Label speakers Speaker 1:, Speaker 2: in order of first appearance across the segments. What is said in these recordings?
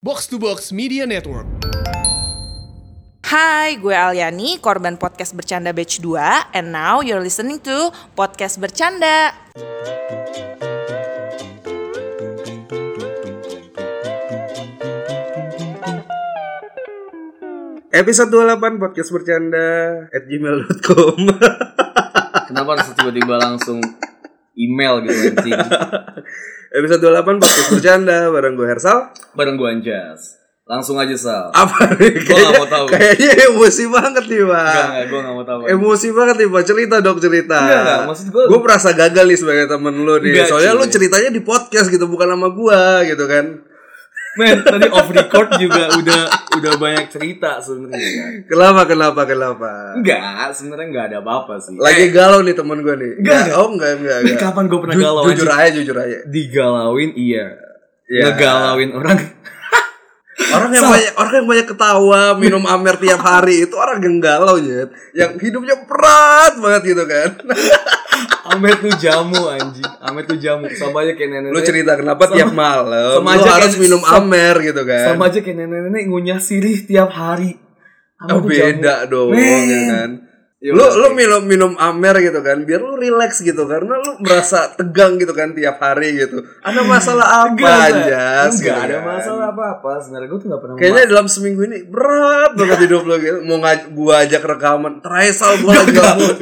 Speaker 1: Box to Box Media Network.
Speaker 2: Hai, gue Aliani, korban podcast bercanda batch 2 and now you're listening to podcast bercanda.
Speaker 3: Episode 28 podcast bercanda at gmail.com
Speaker 4: Kenapa harus tiba-tiba langsung email gitu anjing?
Speaker 3: Episode 28 podcast bercanda bareng gue Hersal
Speaker 4: Bareng gua Anjas. Langsung aja Sal.
Speaker 3: Apa nih?
Speaker 4: Gua nggak mau tahu.
Speaker 3: Kayaknya emosi banget nih
Speaker 4: Enggak,
Speaker 3: bang
Speaker 4: enggak, gua enggak mau tahu.
Speaker 3: Emosi banget nih bang cerita dong cerita
Speaker 4: Enggak, enggak. Maksud gua-
Speaker 3: Gue merasa gagal nih sebagai temen lu nih
Speaker 4: Enggak,
Speaker 3: Soalnya
Speaker 4: cuy.
Speaker 3: lu ceritanya di podcast gitu bukan sama gue gitu kan
Speaker 4: Men, tadi off record juga udah udah banyak cerita sebenarnya.
Speaker 3: Kenapa kenapa kenapa
Speaker 4: Enggak, sebenarnya enggak ada apa-apa sih.
Speaker 3: Lagi galau nih temen gue nih
Speaker 4: Enggak,
Speaker 3: Oh enggak enggak
Speaker 4: Eh,
Speaker 3: enggak
Speaker 4: Kapan gua pernah
Speaker 3: Ju-
Speaker 4: galau
Speaker 3: Jujur
Speaker 4: anjing?
Speaker 3: aja jujur aja
Speaker 4: Digalauin iya.
Speaker 3: Iya.
Speaker 4: Ngegalauin orang.
Speaker 3: Orang yang
Speaker 4: Sal.
Speaker 3: banyak orang yang banyak ketawa, minum amer tiap hari itu orang yang galau Nyet. Yang hidupnya berat banget gitu kan.
Speaker 4: Amet tuh jamu anjing. Amet tuh jamu. Sama aja kayak nenek.
Speaker 3: Lu cerita kenapa
Speaker 4: Sama-
Speaker 3: tiap malam lu
Speaker 4: sama aja
Speaker 3: harus
Speaker 4: kayak-
Speaker 3: minum
Speaker 4: sama-
Speaker 3: amer gitu kan.
Speaker 4: Sama aja kayak nenek-nenek ngunyah sirih tiap hari. Amet
Speaker 3: Oh,
Speaker 4: tuh jamu.
Speaker 3: beda dong
Speaker 4: Men.
Speaker 3: ya kan.
Speaker 4: Ya
Speaker 3: lu
Speaker 4: udah,
Speaker 3: lu
Speaker 4: oke.
Speaker 3: minum minum amer gitu kan biar lu relax gitu karena lu merasa tegang gitu kan tiap hari gitu. Ada masalah apa
Speaker 4: Enggak,
Speaker 3: Anjas?
Speaker 4: enggak
Speaker 3: gitu
Speaker 4: ada
Speaker 3: kan.
Speaker 4: masalah apa-apa. Sebenarnya gue tuh gak pernah
Speaker 3: Kayaknya dalam seminggu ini berat banget hidup lo gitu. Mau ngaj gua ajak rekaman, Traisal gua lagi gabut.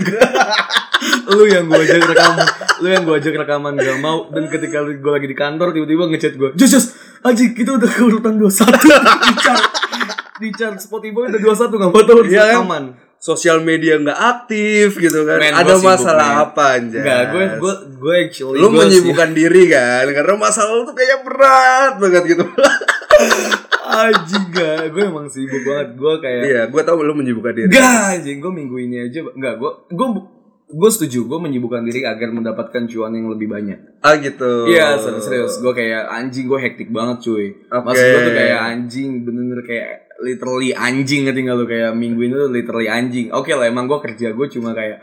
Speaker 4: lu yang gue ajak rekaman lu yang gue ajak rekaman gak mau dan ketika gue lagi di kantor tiba-tiba ngechat gue Jus Jus anjing kita udah ke urutan 21 di chart di chart Spotify udah 21 gak mau tau harus
Speaker 3: Iya kan?
Speaker 4: rekaman
Speaker 3: sosial media nggak aktif gitu kan.
Speaker 4: Men,
Speaker 3: Ada
Speaker 4: gua sibuk,
Speaker 3: masalah
Speaker 4: men.
Speaker 3: apa anjir?
Speaker 4: Enggak, gue gue gue actually
Speaker 3: lu
Speaker 4: gua sih-
Speaker 3: menyibukkan diri kan karena masalah lu tuh kayak berat banget gitu.
Speaker 4: anjing gak gue emang sibuk banget gue kayak
Speaker 3: Iya, gue tau lu menyibukkan diri.
Speaker 4: Enggak anjing, gue minggu ini aja Enggak, gue gue gue setuju gue menyibukkan diri agar mendapatkan cuan yang lebih banyak
Speaker 3: Ah gitu.
Speaker 4: Iya serius, serius. Gue kayak anjing gue hektik banget cuy
Speaker 3: Oke.
Speaker 4: Maksud gue tuh kayak anjing bener-bener kayak literally anjing ngerti gak lu kayak minggu ini tuh literally anjing Oke lah emang gue kerja gue cuma kayak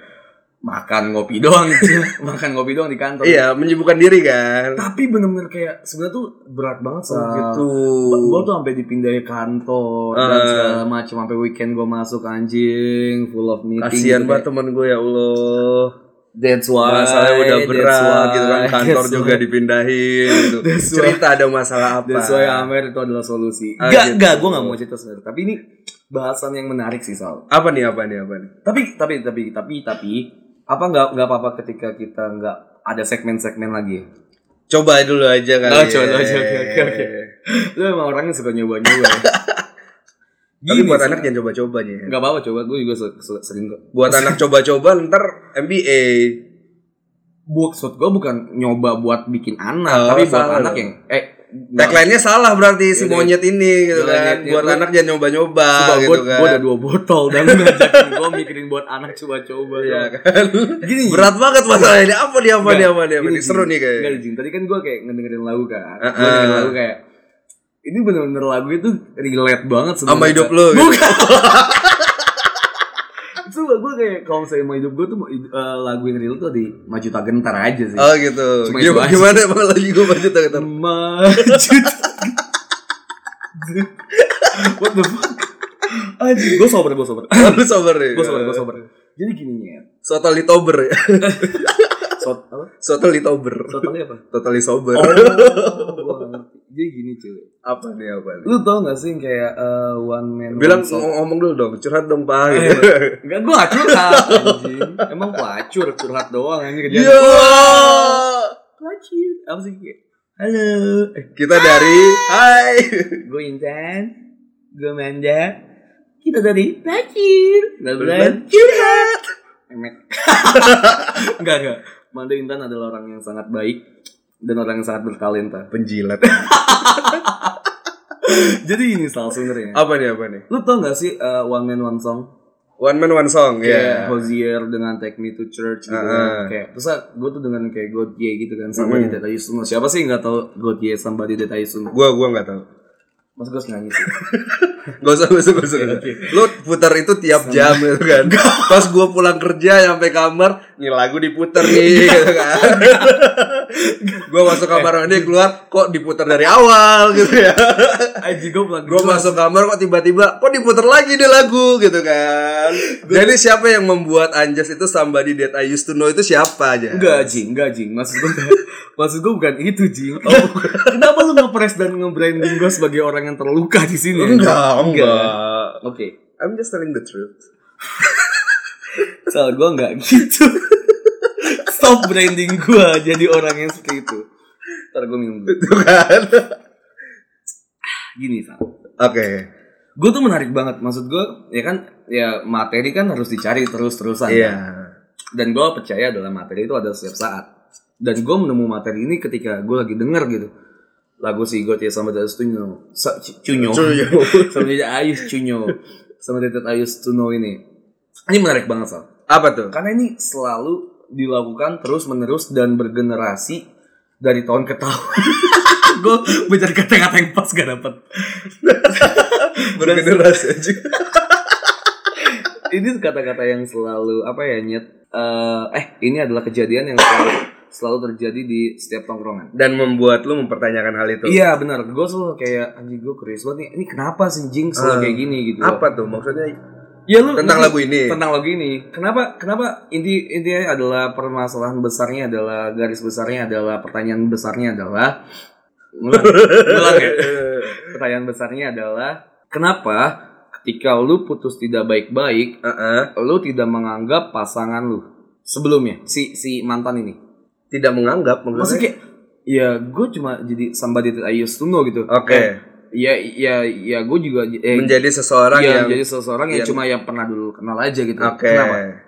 Speaker 4: makan ngopi doang gitu Makan ngopi doang di kantor
Speaker 3: Iya, menyibukkan diri kan.
Speaker 4: Tapi bener-bener kayak sebenarnya tuh berat banget sih
Speaker 3: gitu.
Speaker 4: Gue Ah, tuh sampai dipindahin kantor dan
Speaker 3: Eh.
Speaker 4: segala macam sampai weekend gue masuk anjing full of meeting
Speaker 3: Kasihan
Speaker 4: gitu,
Speaker 3: banget
Speaker 4: kayak,
Speaker 3: teman gue ya Allah.
Speaker 4: That's why
Speaker 3: Masalahnya udah
Speaker 4: that's
Speaker 3: berat gitu kan
Speaker 4: why,
Speaker 3: kantor
Speaker 4: that's
Speaker 3: juga
Speaker 4: why.
Speaker 3: dipindahin gitu.
Speaker 4: That's why.
Speaker 3: Cerita ada masalah apa?
Speaker 4: That's why Amer itu adalah solusi.
Speaker 3: Ah, gitu.
Speaker 4: Gak, gak, gue gak mau cerita sebenarnya. Tapi ini bahasan yang menarik sih Sal.
Speaker 3: Apa nih apa nih apa nih?
Speaker 4: Tapi, tapi, tapi, tapi, tapi, apa nggak nggak apa-apa ketika kita nggak ada segmen-segmen lagi?
Speaker 3: Coba dulu aja kali.
Speaker 4: Oh,
Speaker 3: ya.
Speaker 4: coba dulu aja, oke, oke, oke. Lu emang orangnya suka nyoba-nyoba. ya?
Speaker 3: Tapi buat
Speaker 4: Sal.
Speaker 3: anak jangan coba-coba nih.
Speaker 4: nggak apa-apa coba, gue juga se- se- sering kok.
Speaker 3: buat anak coba-coba ntar MBA
Speaker 4: Buat maksud gue bukan nyoba buat bikin anak,
Speaker 3: Oh,
Speaker 4: tapi buat
Speaker 3: salah.
Speaker 4: anak yang eh
Speaker 3: tagline-nya salah berarti si
Speaker 4: Yaudah.
Speaker 3: monyet ini gitu
Speaker 4: Yaudah,
Speaker 3: kan
Speaker 4: niat-niat
Speaker 3: buat
Speaker 4: lu-
Speaker 3: anak jangan nyoba-nyoba
Speaker 4: Coba
Speaker 3: gitu
Speaker 4: gue
Speaker 3: kan
Speaker 4: udah dua botol dan lu ngajakin gue mikirin buat anak coba-coba.
Speaker 3: Iya
Speaker 4: dong.
Speaker 3: kan
Speaker 4: Gini,
Speaker 3: berat banget masalah ini apa dia apa dia apa dia apa
Speaker 4: Gini,
Speaker 3: dia seru
Speaker 4: Jing.
Speaker 3: nih
Speaker 4: Enggak,
Speaker 3: kayaknya
Speaker 4: Jing. Tadi kan gue kayak ngedengerin lagu kan.
Speaker 3: Ah,
Speaker 4: Gue dengerin
Speaker 3: ah.
Speaker 4: lagu kayak ini bener-bener lagu itu relate banget
Speaker 3: sama
Speaker 4: sebenarnya.
Speaker 3: hidup lu gitu.
Speaker 4: Bukan. Coba gue kayak kalau misalnya mau hidup gue tuh mau hid- eh, lagu yang relate tuh di Maju Tak Gentar aja sih.
Speaker 3: oh gitu
Speaker 4: Cuma itu
Speaker 3: gimana,
Speaker 4: aja.
Speaker 3: gimana emang lagi gue baca tak
Speaker 4: Hmm.
Speaker 3: tak-
Speaker 4: Maju Tak Gentar. What the fuck? Anjir, gue sober, gue sober.
Speaker 3: lu sabar ya
Speaker 4: Gue sober, gue sober. Jadi gini ya.
Speaker 3: Totally sober ya
Speaker 4: Sot apa?
Speaker 3: totally sober
Speaker 4: Totalnya apa?
Speaker 3: totally sober
Speaker 4: Oh, gua nggak ngerti. Jadi gini cuy.
Speaker 3: apa nih apa nih
Speaker 4: lu tau gak sih yang kayak eh, one man
Speaker 3: bilang
Speaker 4: one shop?
Speaker 3: ngom- ngomong dulu dong curhat dong pak
Speaker 4: Eh,
Speaker 3: gitu.
Speaker 4: Enggak, gue gak curhat anjing Emang pelacur, curhat doang anjing kerjaan
Speaker 3: Iya.
Speaker 4: Pelacur, apa sih kayak Halo, eh,
Speaker 3: kita dari hai
Speaker 4: gue Intan Gue Manda Kita dari pelacur Belum
Speaker 3: curhat
Speaker 4: Emek Enggak, enggak Manda Intan adalah orang yang sangat baik dan orang yang sangat bertalenta.
Speaker 3: penjilat
Speaker 4: Jadi ini salah sebenarnya.
Speaker 3: apa nih apa nih
Speaker 4: Lu tau gak sih eh, One Man One Song?
Speaker 3: one man one song ya
Speaker 4: kayak Hozier dengan Take Me to Church gitu
Speaker 3: Heeh.
Speaker 4: kan. kayak terus gue tuh dengan kayak Godye gitu kan Somebody
Speaker 3: Mm.
Speaker 4: That I Used to Know siapa sih yang nggak tahu Godye Somebody That I Used to Know
Speaker 3: gua gua nggak tahu
Speaker 4: Mas gue harus nyanyi sih.
Speaker 3: Gak usah, gak usah, gak usah.
Speaker 4: Oke,
Speaker 3: Lu putar itu tiap jam gitu kan. Pas gua pulang kerja sampai kamar, nih lagu diputer
Speaker 4: Iya.
Speaker 3: nih gitu kan. gua masuk
Speaker 4: Eh.
Speaker 3: kamar mandi keluar kok diputar dari awal gitu ya.
Speaker 4: Aji gue pulang
Speaker 3: Gua
Speaker 4: kerja.
Speaker 3: masuk kamar kok tiba-tiba kok diputer lagi nih lagu gitu kan. Jadi siapa yang membuat Anjas itu somebody that I used to know itu siapa aja?
Speaker 4: Enggak jing, enggak jing. Maksud gue, maksud gue bukan itu jing. Oh, Kenapa lu ngepres dan ngebranding gue sebagai orang yang terluka di sini? ya?
Speaker 3: Enggak,
Speaker 4: Enggak.
Speaker 3: enggak.
Speaker 4: Oke,
Speaker 3: I'm just telling the truth.
Speaker 4: soal gue enggak gitu. Stop branding gue jadi orang yang seperti itu. Ntar gue minum dulu.
Speaker 3: Gitu kan.
Speaker 4: Gini, Sal.
Speaker 3: Oke.
Speaker 4: Gue tuh menarik banget. Maksud gue, ya kan, ya materi kan harus dicari terus-terusan. kan.
Speaker 3: Iya.
Speaker 4: dan gue percaya dalam materi itu ada setiap saat dan gue menemu materi ini ketika gue lagi denger gitu lagu si Got ya sama Tetes Cunyo Sa- C- Cunyo
Speaker 3: Cunyo.
Speaker 4: sama Tetes Ayus Cunyo sama Tetes Ayus Tuno ini ini menarik banget Sal
Speaker 3: Apa tuh?
Speaker 4: karena ini selalu dilakukan terus menerus dan bergenerasi dari tahun ke tahun gue mencari kata-kata yang pas gak dapet
Speaker 3: Bergenerasi aja.
Speaker 4: ini kata-kata yang selalu apa ya nyet Eh, eh ini adalah kejadian yang selalu, selalu terjadi di setiap tongkrongan
Speaker 3: dan membuat lu mempertanyakan hal itu.
Speaker 4: Iya benar, gue selalu kayak anjing gue curious banget nih. Ini kenapa sih Jing selalu
Speaker 3: Eh,
Speaker 4: kayak gini gitu?
Speaker 3: Apa tuh maksudnya?
Speaker 4: Ya lu
Speaker 3: Tentang
Speaker 4: lu-
Speaker 3: lagu ini.
Speaker 4: Tentang lagu ini. Kenapa? Kenapa inti intinya adalah permasalahan besarnya adalah garis besarnya adalah pertanyaan besarnya adalah ulang, ulang ya. Pertanyaan besarnya adalah kenapa ketika lu putus tidak baik-baik,
Speaker 3: Heeh.
Speaker 4: lu tidak menganggap pasangan lu sebelumnya si si mantan ini.
Speaker 3: Tidak menganggap
Speaker 4: Maksudnya
Speaker 3: maksudnya.
Speaker 4: kayak ya gue cuma jadi somebody that I used to know gitu.
Speaker 3: Oke,
Speaker 4: Eh, ya ya ya gue juga eh,
Speaker 3: menjadi seseorang
Speaker 4: ya,
Speaker 3: yang
Speaker 4: jadi seseorang yang
Speaker 3: yang-
Speaker 4: cuma yang pernah dulu kenal aja gitu
Speaker 3: Oke.
Speaker 4: kenapa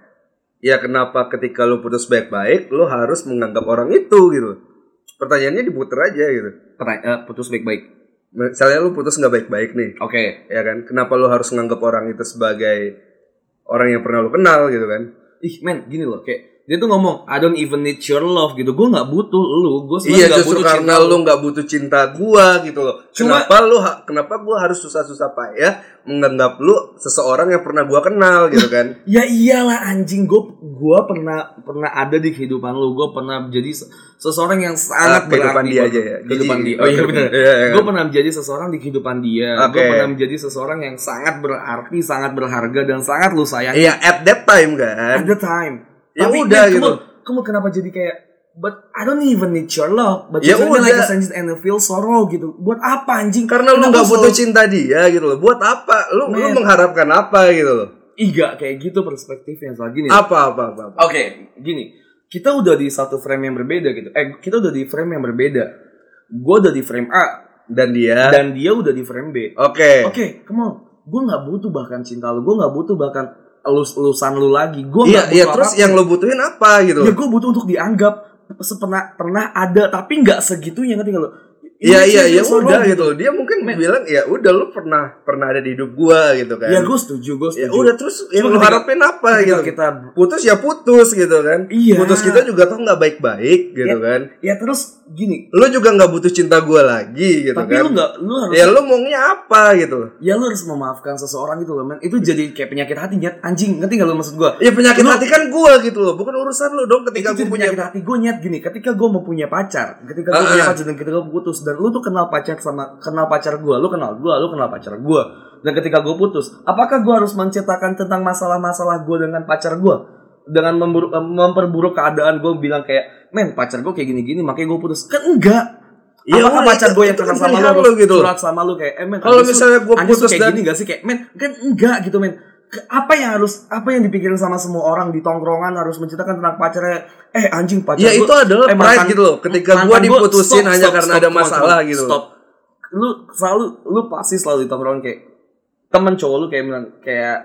Speaker 3: Ya kenapa ketika lu putus baik-baik, lu harus menganggap orang itu gitu. Pertanyaannya diputer aja gitu.
Speaker 4: Pernah, eh, putus baik-baik
Speaker 3: Misalnya lu putus nggak baik-baik nih,
Speaker 4: oke
Speaker 3: ya kan? Kenapa lu harus menganggap orang itu sebagai orang yang pernah lu kenal gitu kan?
Speaker 4: ih men gini loh kayak dia tuh ngomong I don't even need your love gitu gue nggak butuh lu gue
Speaker 3: Iya
Speaker 4: sebenarnya nggak
Speaker 3: justru
Speaker 4: butuh
Speaker 3: karena
Speaker 4: cinta
Speaker 3: lu nggak butuh cinta gua gitu loh.
Speaker 4: Cuma-
Speaker 3: kenapa lu ha- kenapa gua harus susah-susah payah menganggap lu seseorang yang pernah gua kenal gitu kan?
Speaker 4: ya iyalah anjing gue gue pernah pernah ada di kehidupan lu gue pernah jadi se- seseorang yang
Speaker 3: Ah,
Speaker 4: sangat
Speaker 3: kehidupan
Speaker 4: berarti
Speaker 3: dia
Speaker 4: buat
Speaker 3: aja
Speaker 4: lu.
Speaker 3: ya.
Speaker 4: kehidupan
Speaker 3: Jijik.
Speaker 4: dia oh iya benar
Speaker 3: Iya, iya
Speaker 4: Gue
Speaker 3: kan?
Speaker 4: pernah menjadi seseorang di kehidupan dia. Gue
Speaker 3: Oke.
Speaker 4: pernah menjadi seseorang yang sangat berarti, sangat berharga, dan sangat lu sayangi.
Speaker 3: Iya at that time kan.
Speaker 4: at the time.
Speaker 3: Ya
Speaker 4: Tapi
Speaker 3: udah
Speaker 4: kamu-
Speaker 3: gitu.
Speaker 4: Kamu kenapa jadi kayak but I don't even need your love, but
Speaker 3: Ya
Speaker 4: you treat
Speaker 3: udah.
Speaker 4: me like a stranger and I feel sorrow gitu. Buat apa anjing?
Speaker 3: Karena lu
Speaker 4: Kenapa Nah.
Speaker 3: nggak butuh
Speaker 4: selalu-
Speaker 3: cinta dia gitu loh. Buat apa? Lu lu
Speaker 4: Men.
Speaker 3: mengharapkan apa gitu loh?
Speaker 4: Ih, nggak kayak gitu perspektifnya soal gini. Oke,
Speaker 3: Apa apa apa? apa.
Speaker 4: Oh. gini. Kita udah di satu frame yang berbeda gitu. Eh, kita udah di frame yang berbeda. Gue udah di frame A
Speaker 3: Dan dia.
Speaker 4: dan dia udah di frame B. Oke,
Speaker 3: Oke.
Speaker 4: come on. Gue nggak butuh bahkan cinta lu. Gue nggak butuh bahkan elus elusan lu lagi. Gue
Speaker 3: Iya
Speaker 4: nggak butuh
Speaker 3: iya terus
Speaker 4: apapun.
Speaker 3: yang lu butuhin apa gitu
Speaker 4: ya
Speaker 3: loh?
Speaker 4: gue butuh untuk dianggap pernah pernah ada tapi nggak segitunya ngerti nggak lo
Speaker 3: Iya
Speaker 4: Ini
Speaker 3: iya ya
Speaker 4: serius loh,
Speaker 3: udah
Speaker 4: Bang.
Speaker 3: gitu loh. Dia mungkin
Speaker 4: Men.
Speaker 3: bilang ya udah lu pernah pernah ada di hidup gua gitu kan.
Speaker 4: ya gue setuju gue
Speaker 3: ya
Speaker 4: setuju
Speaker 3: udah terus yang
Speaker 4: Cuma
Speaker 3: lu
Speaker 4: ketika-
Speaker 3: harapin apa
Speaker 4: Ketika
Speaker 3: gitu
Speaker 4: kita
Speaker 3: putus ya putus gitu kan
Speaker 4: Iya.
Speaker 3: putus kita juga tuh nggak baik-baik gitu kan
Speaker 4: ya terus gini
Speaker 3: lu juga nggak butuh cinta gua lagi gitu
Speaker 4: tapi
Speaker 3: kan
Speaker 4: lu nggak lu harus
Speaker 3: ya lu maunya apa gitu
Speaker 4: ya lu harus memaafkan seseorang gitu loh men itu jadi kayak penyakit hati nyet anjing ngerti nggak lo maksud gue
Speaker 3: ya penyakit hati kan gua gitu loh bukan urusan lu dong ketika gua
Speaker 4: itu jadi
Speaker 3: punya
Speaker 4: penyakit hati gue nyet gini ketika gue mau punya pacar ketika gue
Speaker 3: Ah,
Speaker 4: punya
Speaker 3: ah.
Speaker 4: pacar dan ketika gue putus dan lu tuh kenal pacar sama kenal pacar gue lu kenal gue lu kenal pacar gue dan ketika gue putus apakah gue harus menceritakan tentang masalah-masalah gue dengan pacar gue dengan memburu- eh, memperburuk keadaan gue bilang kayak men pacar gue kayak gini-gini makanya gue putus kan enggak
Speaker 3: Ya
Speaker 4: Apakah
Speaker 3: udah,
Speaker 4: pacar
Speaker 3: itu-
Speaker 4: gue yang
Speaker 3: itu kan
Speaker 4: kenal sama
Speaker 3: pilihan
Speaker 4: lu,
Speaker 3: lu gitu
Speaker 4: gitu
Speaker 3: loh.
Speaker 4: surat sama lu kayak eh men
Speaker 3: Kalau
Speaker 4: anjing lu-
Speaker 3: misalnya gua
Speaker 4: anjing lu
Speaker 3: putus
Speaker 4: kayak
Speaker 3: dan-
Speaker 4: gini gak sih kayak men kan enggak gitu men Ke- apa yang harus apa yang dipikirin sama semua orang di tongkrongan harus menceritakan tentang pacarnya eh anjing pacar
Speaker 3: ya
Speaker 4: gua-
Speaker 3: itu adalah
Speaker 4: eh,
Speaker 3: pride
Speaker 4: mantan-
Speaker 3: gitu loh ketika
Speaker 4: mantan
Speaker 3: gua diputusin
Speaker 4: stop,
Speaker 3: hanya
Speaker 4: stop,
Speaker 3: karena
Speaker 4: stop,
Speaker 3: ada
Speaker 4: come on,
Speaker 3: masalah
Speaker 4: come on,
Speaker 3: gitu
Speaker 4: stop lu selalu lu pasti selalu di tongkrongan kayak temen cowok lu kayak bilang kayak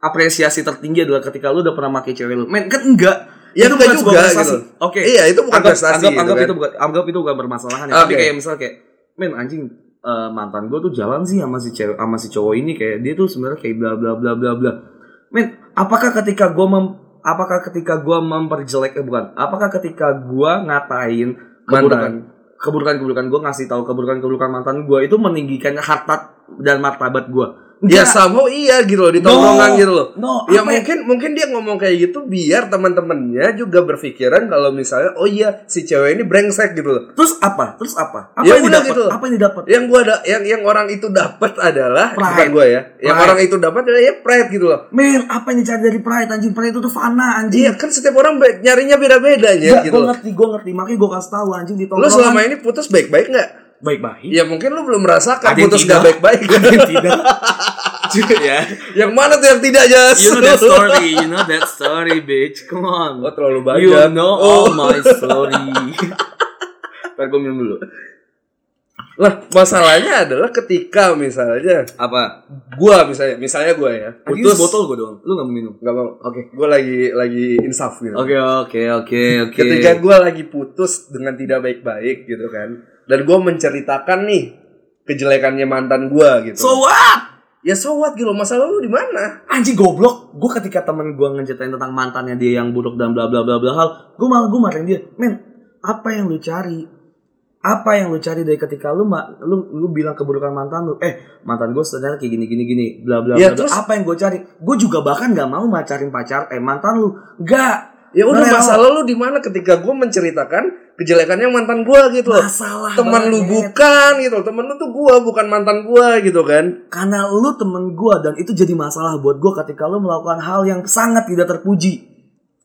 Speaker 4: apresiasi tertinggi adalah ketika lu udah pernah maki cewek lu men kan enggak
Speaker 3: Ya, enggak
Speaker 4: bukan sebuah
Speaker 3: juga,
Speaker 4: prestasi.
Speaker 3: gitu.
Speaker 4: oke
Speaker 3: Iya, itu bukan
Speaker 4: anggap,
Speaker 3: prestasi,
Speaker 4: anggap,
Speaker 3: gitu
Speaker 4: anggap
Speaker 3: kan.
Speaker 4: itu bukan anggap itu bukan permasalahan ya. tapi
Speaker 3: Oke.
Speaker 4: kayak misal kayak men anjing eh, mantan gue tuh jalan sih sama si cewek sama si cowok ini kayak dia tuh sebenarnya kayak bla bla bla bla bla men apakah ketika gue mem apakah ketika gue memperjelek eh, bukan apakah ketika gue ngatain
Speaker 3: Mantan.
Speaker 4: keburukan keburukan-keburukan gue ngasih tahu keburukan-keburukan mantan gue itu meninggikan harta dan martabat gue.
Speaker 3: Ya sama iya gitu loh di tongkrongan
Speaker 4: No.
Speaker 3: gitu loh.
Speaker 4: No,
Speaker 3: ya
Speaker 4: apa ya?
Speaker 3: mungkin mungkin dia ngomong kayak gitu biar teman-temannya juga berpikiran kalau misalnya oh iya si cewek ini brengsek gitu loh.
Speaker 4: Terus apa? Terus apa? Apa
Speaker 3: Ya
Speaker 4: yang
Speaker 3: udah
Speaker 4: didapat?
Speaker 3: gitu.
Speaker 4: Apa yang didapat?
Speaker 3: Yang gua ada yang yang orang itu dapat adalah
Speaker 4: Pride.
Speaker 3: bukan gua ya. Yang
Speaker 4: Pride.
Speaker 3: orang itu dapat adalah ya pride gitu loh.
Speaker 4: Men, apa yang dicari dari pride anjing? Pride itu tuh fana anjing.
Speaker 3: Iya kan setiap orang be- nyarinya beda-bedanya gitu.
Speaker 4: gue
Speaker 3: loh.
Speaker 4: Iya, ngerti, gue ngerti. Makanya gue kasih tahu anjing di
Speaker 3: Lu
Speaker 4: tongkrongan.
Speaker 3: selama ini putus baik-baik nggak?
Speaker 4: baik-baik.
Speaker 3: Ya mungkin lu belum merasakan
Speaker 4: Ada yang
Speaker 3: putus
Speaker 4: tidak.
Speaker 3: gak baik-baik.
Speaker 4: Ada yang tidak. Cuy ya.
Speaker 3: yang mana tuh yang tidak ya? jas?
Speaker 4: You know that story, you know that story, bitch. Come on.
Speaker 3: Oh terlalu banyak.
Speaker 4: You know
Speaker 3: Oh.
Speaker 4: all my story. Ntar gue minum dulu.
Speaker 3: Lah masalahnya adalah ketika misalnya
Speaker 4: Apa?
Speaker 3: gua misalnya misalnya gua ya
Speaker 4: Putus
Speaker 3: putus
Speaker 4: botol gue doang. Lu gak mau minum?
Speaker 3: nggak mau
Speaker 4: Oke.
Speaker 3: gua lagi lagi insaf gitu
Speaker 4: Oke, oke, oke, oke.
Speaker 3: ketika gua lagi putus dengan tidak baik-baik gitu kan dan gua menceritakan nih kejelekannya mantan gua gitu
Speaker 4: So what?
Speaker 3: ya so what gitu masalah lu di mana
Speaker 4: Anjing goblok, gue ketika temen gue ngeceritain tentang mantannya dia yang buruk dan bla bla bla bla hal, gue malah gue marahin dia, men apa yang lu cari? Apa yang lu cari dari ketika lu ma- lu lu bilang keburukan mantan lu? Eh mantan gue sebenarnya kayak gini gini gini bla bla
Speaker 3: Ya,
Speaker 4: bla. bla.
Speaker 3: terus-
Speaker 4: Apa yang gue cari? Gue juga bahkan nggak mau macarin pacar eh mantan lu, nggak.
Speaker 3: ya udah
Speaker 4: Nah,
Speaker 3: masalah lu di mana ketika gua menceritakan kejelekannya mantan gua gitu loh
Speaker 4: masalah
Speaker 3: teman lu
Speaker 4: banget.
Speaker 3: bukan gitu loh. teman lu tuh gua bukan mantan gua gitu kan
Speaker 4: karena lu temen gue dan itu jadi masalah buat gue ketika lu melakukan hal yang sangat tidak terpuji.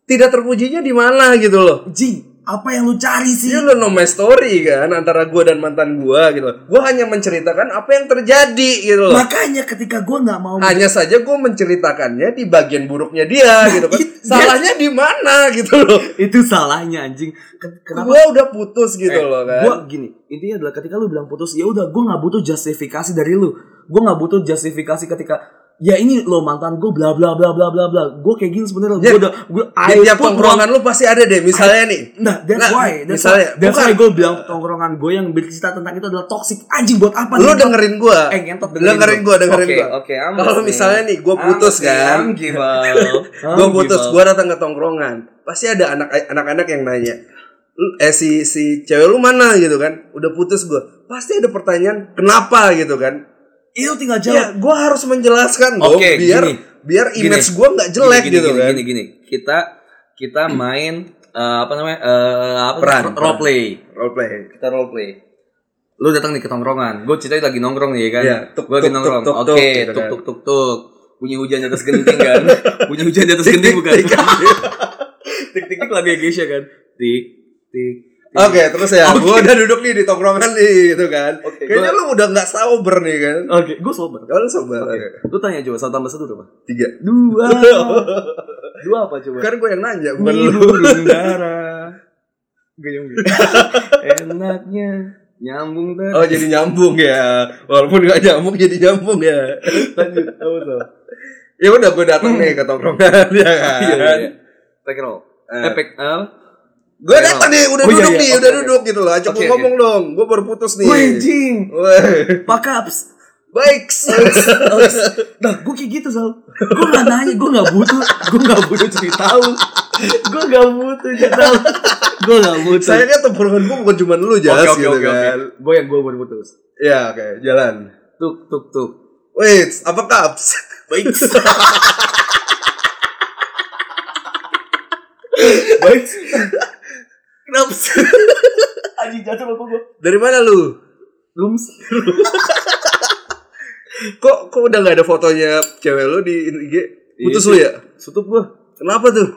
Speaker 3: tidak terpujinya di mana gitu loh
Speaker 4: Jing, apa yang lu cari sih?
Speaker 3: Iya lo no my story kan antara gue dan mantan gue gitu. Gue hanya menceritakan apa yang terjadi gitu loh.
Speaker 4: Makanya ketika gue nggak mau
Speaker 3: Hanya saja gue menceritakannya di bagian buruknya dia
Speaker 4: Nah,
Speaker 3: gitu kan.
Speaker 4: it-
Speaker 3: Salahnya di mana gitu loh.
Speaker 4: itu salahnya anjing Ken- kenapa Eh,
Speaker 3: Gue udah putus gitu loh kan.
Speaker 4: gua gini intinya adalah ketika lu bilang putus ya udah gua nggak butuh justifikasi dari lu gua nggak butuh justifikasi ketika ya ini lo mantan gua bla bla bla bla bla bla gua kayak gini sebenarnya gua
Speaker 3: Ya,
Speaker 4: udah gua
Speaker 3: di
Speaker 4: I
Speaker 3: tiap
Speaker 4: put
Speaker 3: tongkrongan lu pasti ada deh misalnya nih.
Speaker 4: one- nah that's
Speaker 3: Nah,
Speaker 4: why that's
Speaker 3: misalnya,
Speaker 4: why, that's
Speaker 3: bukan.
Speaker 4: why gua bilang tongkrongan gua yang bercerita tentang itu adalah toxic anjing buat apa
Speaker 3: Lu
Speaker 4: nih?
Speaker 3: dengerin gue.
Speaker 4: Eh, ngentot, dengerin
Speaker 3: dengerin
Speaker 4: gua.
Speaker 3: gue, dengerin
Speaker 4: Oke,
Speaker 3: gue.
Speaker 4: oke, I'm
Speaker 3: Kalau
Speaker 4: listening.
Speaker 3: misalnya nih gue
Speaker 4: I'm
Speaker 3: putus
Speaker 4: listening,
Speaker 3: kan.
Speaker 4: I'm give up. I'm
Speaker 3: gue
Speaker 4: give
Speaker 3: putus,
Speaker 4: up.
Speaker 3: gue datang ke tongkrongan, pasti ada anak eh, anak-anak yang nanya, "Lu- eh si si cewek lu mana gitu kan? Udah putus gue, pasti ada pertanyaan kenapa gitu kan?
Speaker 4: itu Iya, tinggal jawab
Speaker 3: Ya, gue harus menjelaskan dong,
Speaker 4: Oke,
Speaker 3: biar
Speaker 4: gini.
Speaker 3: biar
Speaker 4: Gini.
Speaker 3: image gue nggak jelek
Speaker 4: gini, gini,
Speaker 3: gitu
Speaker 4: gini,
Speaker 3: kan?
Speaker 4: Gini gini, kita kita main eh, apa namanya? eh, apa
Speaker 3: Peran,
Speaker 4: role play.
Speaker 3: Role play.
Speaker 4: Kita role play. Lu datang nih ke tongkrongan. Gue cerita lagi nongkrong nih ya kan.
Speaker 3: Iya, tuk,
Speaker 4: Gue
Speaker 3: tuk,
Speaker 4: lagi nongkrong.
Speaker 3: tuk, tuk,
Speaker 4: Oke,
Speaker 3: gitu
Speaker 4: tuk
Speaker 3: kan.
Speaker 4: tuk tuk tuk. Punya hujan di atas genting kan? Punya hujan di atas genting bukan? Tik tik tik lagu Gesha kan. Tik tik.
Speaker 3: Oke, terus ya, gue udah duduk nih di tongkrongan nih gitu kan?
Speaker 4: Oke,
Speaker 3: Kayaknya
Speaker 4: gua-
Speaker 3: lu udah nggak sober nih kan?
Speaker 4: Oke, gue sober.
Speaker 3: Kalau sober,
Speaker 4: Oke. Iya. Lu tanya coba satu tambah satu berapa?
Speaker 3: tiga.
Speaker 4: Dua. Dua apa coba?
Speaker 3: Kan gue yang nanya, bukan lu.
Speaker 4: burung dara gayung enaknya nyambung ter
Speaker 3: Oh jadi nyambung ya, walaupun nggak nyambung jadi nyambung ya.
Speaker 4: lanjut tahu tuh
Speaker 3: Ya udah gue datang nih ke tongkrongan ya kan.
Speaker 4: iya iya take it all
Speaker 3: Eh.
Speaker 4: eh, pack- eh,
Speaker 3: Gue datang nih, udah
Speaker 4: Oh, iya,
Speaker 3: duduk
Speaker 4: iya.
Speaker 3: nih,
Speaker 4: Oke,
Speaker 3: udah
Speaker 4: oke.
Speaker 3: duduk gitu loh. Ajak
Speaker 4: Oke,
Speaker 3: gue
Speaker 4: oke.
Speaker 3: ngomong dong, gue baru putus nih.
Speaker 4: Wih, jing
Speaker 3: Wih,
Speaker 4: fuck ups
Speaker 3: baik.
Speaker 4: nah gue kayak gitu Sal gue gak nanya gue gak butuh gue gak butuh cerita lu gue gak butuh cerita lu gue gak butuh
Speaker 3: Saya kan tongkrongan gue bukan cuma lu jas
Speaker 4: oke oke
Speaker 3: gitu
Speaker 4: oke
Speaker 3: kan.
Speaker 4: gue yang gue baru putus
Speaker 3: Ya oke, jalan.
Speaker 4: tuk tuk tuk
Speaker 3: Wait, apa kaps?
Speaker 4: baik baik kenapa sih Aji jatuh bapak gue
Speaker 3: Dari mana lu?
Speaker 4: rooms
Speaker 3: Kok kok udah nggak ada fotonya cewek lu di IG? Putus lu
Speaker 4: Iya sih.
Speaker 3: ya?
Speaker 4: tutup gue
Speaker 3: Kenapa tuh?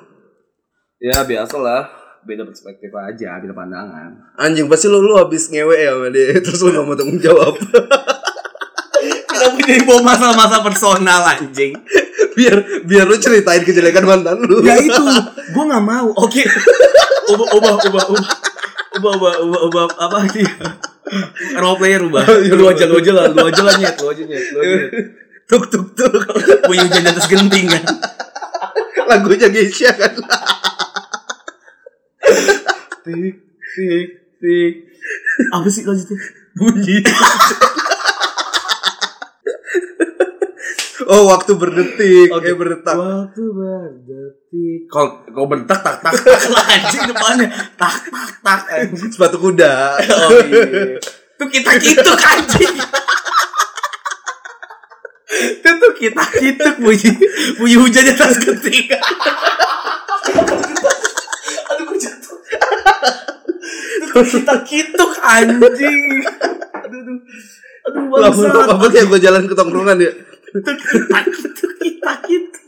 Speaker 4: ya biasa lah beda perspektif aja beda pandangan
Speaker 3: Anjing pasti lu lu habis ngewe ya sama dia. Terus lu gak mau tanggung jawab.
Speaker 4: kenapa jadi bawa masalah-masalah personal anjing
Speaker 3: biar biar lu ceritain kejelekan mantan lu.
Speaker 4: ya itu gue nggak mau oke ubah ubah ubah ubah ubah ubah ubah ubah apa sih role player ubah
Speaker 5: Oh, iya,
Speaker 4: lu aja lu aja lah lu aja lah nyet lu aja nyet lu aja nyet.
Speaker 3: tuk tuk tuk
Speaker 4: punya hujan di atas genting kan
Speaker 3: lagunya Geisha kan
Speaker 4: tik tik tik apa sih lanjutnya
Speaker 3: bunyi Oh, waktu berdetik.
Speaker 5: Oke.
Speaker 3: Eh, berdetak.
Speaker 5: Waktu berdetik.
Speaker 3: Kalau kau bentak tak tak tak
Speaker 5: Anjing depannya. Tak tak tak. anjing.
Speaker 3: sepatu kuda.
Speaker 5: Oh iya. Tuh kita gitu anjing. Itu tuh kita gitu bunyi bunyi hujannya tas ketika. Aduh gue jatuh. Itu kita gitu anjing. Aduh aduh. Aduh bangsat.
Speaker 3: Lama-lama banget ya gue jalan ke tongkrongan ya.
Speaker 5: kita gitu kita gitu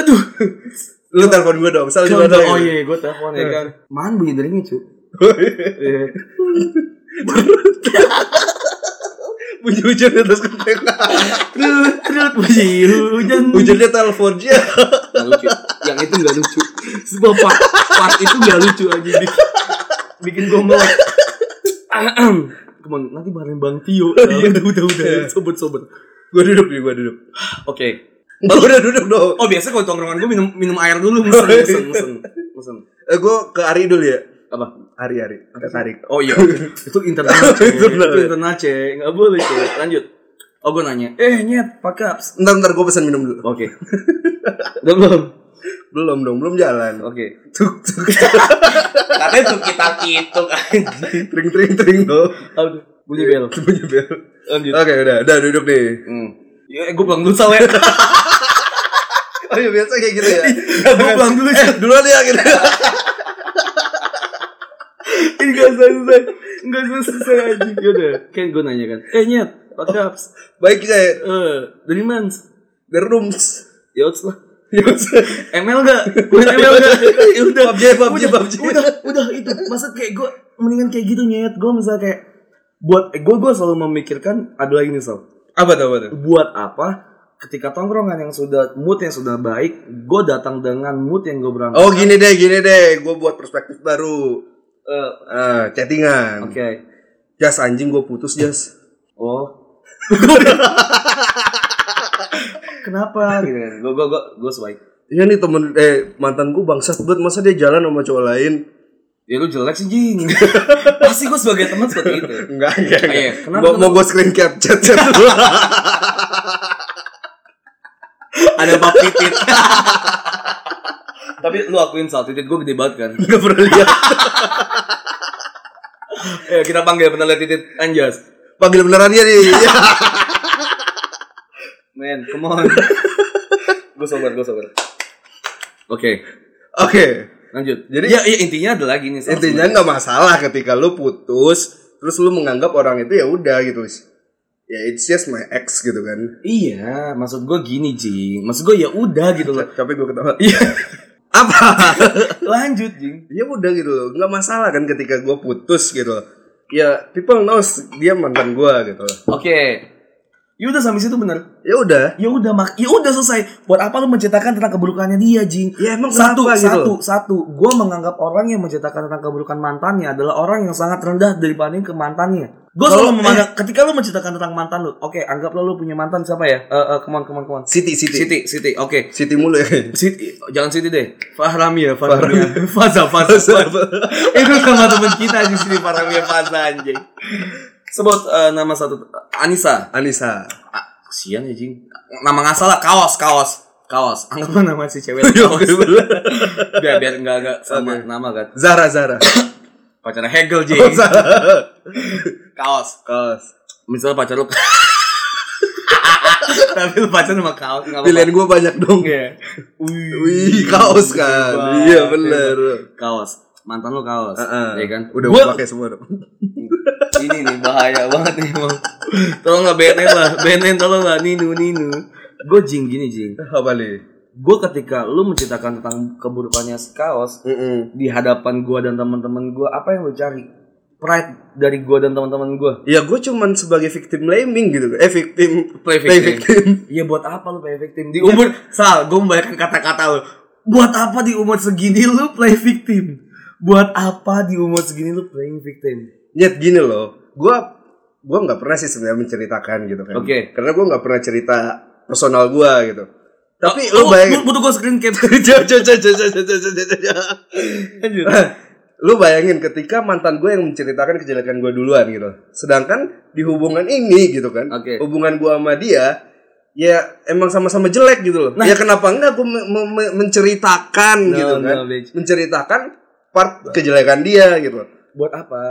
Speaker 5: aduh
Speaker 3: Lu telepon gue dong. Sal di
Speaker 5: Coba,
Speaker 3: mana?
Speaker 5: oh iya gue telepon ya kan man bunyi deringnya cu
Speaker 4: Oh,
Speaker 5: Iya.
Speaker 3: Bunyi hujan di atas genteng.
Speaker 5: trut trut bunyi hujan
Speaker 3: Hujannya telepon dia.
Speaker 5: Nggak lucu yang itu nggak lucu sebuah part, part itu nggak lucu aja bikin, bikin gue melek Ahem. Cuman nanti bareng Bang Tio Udah udah udah Sobat sobat
Speaker 3: Gue duduk nih, gue duduk.
Speaker 5: Oke
Speaker 3: Oh, udah duduk dong.
Speaker 5: Oh biasa kalau tongkrongan gue minum minum air dulu Mesen mesen mesen Mesen
Speaker 3: Eh, gue ke Ari dulu ya.
Speaker 5: Apa?
Speaker 3: Ari Ari. Tarik.
Speaker 5: Oh iya, itu internal, cek. itu
Speaker 3: Internal, ya?
Speaker 5: internal cek, nggak boleh cek. Lanjut. Oh gue nanya, eh nyet, pakaps.
Speaker 3: Ntar ntar gue pesan minum dulu.
Speaker 5: Oke. Udah belum?
Speaker 3: Belum dong, belum jalan.
Speaker 5: Oke.
Speaker 3: Tuk tuk
Speaker 5: Katanya tuh kita gitu kan.
Speaker 3: tring tring tring dong.
Speaker 5: Aduh, bunyi bel.
Speaker 3: Bunyi bel.
Speaker 5: Lanjut.
Speaker 3: Oke, udah, udah duduk nih.
Speaker 5: Hmm. Ya, gue pulang dulu sal ya.
Speaker 3: Oh iya biasa kayak gitu ya.
Speaker 5: gue pulang dulu.
Speaker 3: eh, duluan ya gitu.
Speaker 5: Ini gak selesai, gak selesai aja. Yaudah, kan gue nanya kan, eh nyet, pakaps.
Speaker 3: Baik saya
Speaker 5: Eh, dari mans.
Speaker 3: the rooms.
Speaker 5: Ya udah lah. ML gak? Main ML gak? Ya udah.
Speaker 3: PUBG, PUBG,
Speaker 5: udah,
Speaker 3: PUBG.
Speaker 5: udah, udah itu. Masa kayak gue mendingan kayak gitu nyet. Gue misalnya kayak buat eh, gue gue selalu memikirkan adalah ini sal.
Speaker 3: Apa tuh, apa tuh?
Speaker 5: Buat apa? Ketika tongkrongan yang sudah mood yang sudah baik, gue datang dengan mood yang gue berangkat.
Speaker 3: Oh gini deh, gini deh. Gue buat perspektif baru.
Speaker 5: Eh,
Speaker 3: Eh,
Speaker 5: Oke.
Speaker 3: chattingan. Jas anjing gue putus jas.
Speaker 5: Oh. Kenapa? Gitu kan? Gue gue gue gue sebaik.
Speaker 3: Iya nih temen eh mantan gue bangsat banget masa dia jalan sama cowok lain.
Speaker 5: Ya lu jelek sih jing. Pasti gue sebagai teman seperti itu.
Speaker 3: Enggak, enggak.
Speaker 5: Ah, iya.
Speaker 3: enggak.
Speaker 5: Kenapa,
Speaker 3: mau, mau
Speaker 5: kenapa?
Speaker 3: gue screen capture chat dulu.
Speaker 5: ada bab titit tapi lu akuin sal titit gue gede banget kan
Speaker 3: Enggak pernah lihat.
Speaker 5: eh, kita panggil pernah liat titit anjas
Speaker 3: Panggil beneran dia nih. Iya.
Speaker 5: men come on gue sabar gue sabar oke
Speaker 3: Oke.
Speaker 5: lanjut jadi
Speaker 3: Jadi-
Speaker 5: ya, ya, intinya ada lagi nih Sal,
Speaker 3: Intinya
Speaker 5: sebenarnya.
Speaker 3: nggak masalah ketika lu putus terus lu menganggap orang itu ya udah gitu. Ya it's just my ex gitu kan.
Speaker 5: iya maksud gue gini jing maksud gue ya udah gitu loh
Speaker 3: Capek gue ketawa. Iya. Apa?
Speaker 5: lanjut jing
Speaker 3: ya udah gitu loh. Nggak masalah kan ketika gue putus gitu. loh. Ya people knows dia mantan gue gitu. loh.
Speaker 5: oke Ya udah sampai situ bener.
Speaker 3: Ya udah.
Speaker 5: Ya udah mak, ya udah selesai. Buat apa lu menceritakan tentang keburukannya dia, Jing?
Speaker 3: Ya emang
Speaker 5: satu,
Speaker 3: kenapa gitu
Speaker 5: satu,
Speaker 3: loh?
Speaker 5: satu. Gue menganggap orang yang menceritakan tentang keburukan mantannya adalah orang yang sangat rendah dibanding ke mantannya.
Speaker 3: Kalau- eh.
Speaker 5: Gue selalu memandang ketika lu menceritakan tentang mantan lu, oke, anggaplah lu punya mantan siapa ya? Eh, eh, kemon, kemon, kemon.
Speaker 3: Siti, Siti. Siti,
Speaker 5: Siti, Siti, oke.
Speaker 3: mulu ya.
Speaker 5: Siti, jangan Siti deh. ya, Fahramia, Fahramia. Faza, Faza, Faza. Itu sama teman kita di sini Fahramia Faza anjing. Sebut eh, nama satu Anissa.
Speaker 3: Anissa.
Speaker 5: Ah, Kesian ya, Jing. Nama nggak salah, kaos, kaos. Kaos. Anggaplah nama si cewek itu
Speaker 3: Ya,
Speaker 5: kaos.
Speaker 3: oke, bener.
Speaker 5: biar biar enggak enggak sama nama kan
Speaker 3: Zara, Zara.
Speaker 5: pacarnya Hegel jing kaos
Speaker 3: Kaos.
Speaker 5: misalnya pacar lu tapi lu pacar sama kaos nggak apa-apa
Speaker 3: Pilihan gue banyak dong.
Speaker 5: Iya. Wih,
Speaker 3: Wih, kaos kan.
Speaker 5: hebat,
Speaker 3: Iya bener.
Speaker 5: hebat. kaos mantan lu kaos
Speaker 3: Heeh.
Speaker 5: ya kan
Speaker 3: Udah
Speaker 5: Gua-
Speaker 3: gua pakai semua. dong.
Speaker 5: ini nih bahaya banget nih emang tolong lah BNN lah BNN tolong lah Ninu Ninu gue jing gini jing
Speaker 3: Apa nih?
Speaker 5: gue ketika lu menceritakan tentang keburukannya si kaos
Speaker 3: Mm-mm.
Speaker 5: di hadapan gue dan teman-teman gue apa yang lu cari pride dari gue dan teman-teman gue
Speaker 3: Ya gue cuman sebagai victim blaming gitu Eh victim
Speaker 5: Play victim. Iya buat apa lu play victim di
Speaker 3: Iya.
Speaker 5: umur Sal, gue membayangkan kata-kata lu. Buat apa di umur segini lu play victim? Buat apa di umur segini lu playing victim?
Speaker 3: Nyet gini loh Gue Gue gak pernah sih sebenarnya menceritakan gitu kan
Speaker 5: Oke.
Speaker 3: Karena gue gak pernah cerita personal gue gitu Tapi
Speaker 5: Oh,
Speaker 3: lu bayangin
Speaker 5: lu butuh gue screen cap.
Speaker 3: Jauh, jauh, jauh, jauh, jauh, jauh, jauh, jauh, jauh, jauh.
Speaker 5: Lanjut.
Speaker 3: Lu bayangin ketika mantan gue yang menceritakan kejelekan gue duluan gitu Sedangkan di hubungan ini gitu kan
Speaker 5: Oke.
Speaker 3: Hubungan gue sama dia ya emang sama-sama jelek gitu loh. ya kenapa enggak aku me- me- me- menceritakan
Speaker 5: Nah. No,
Speaker 3: gitu kan.
Speaker 5: no, bitch.
Speaker 3: menceritakan part kejelekan dia gitu loh.
Speaker 5: Buat apa?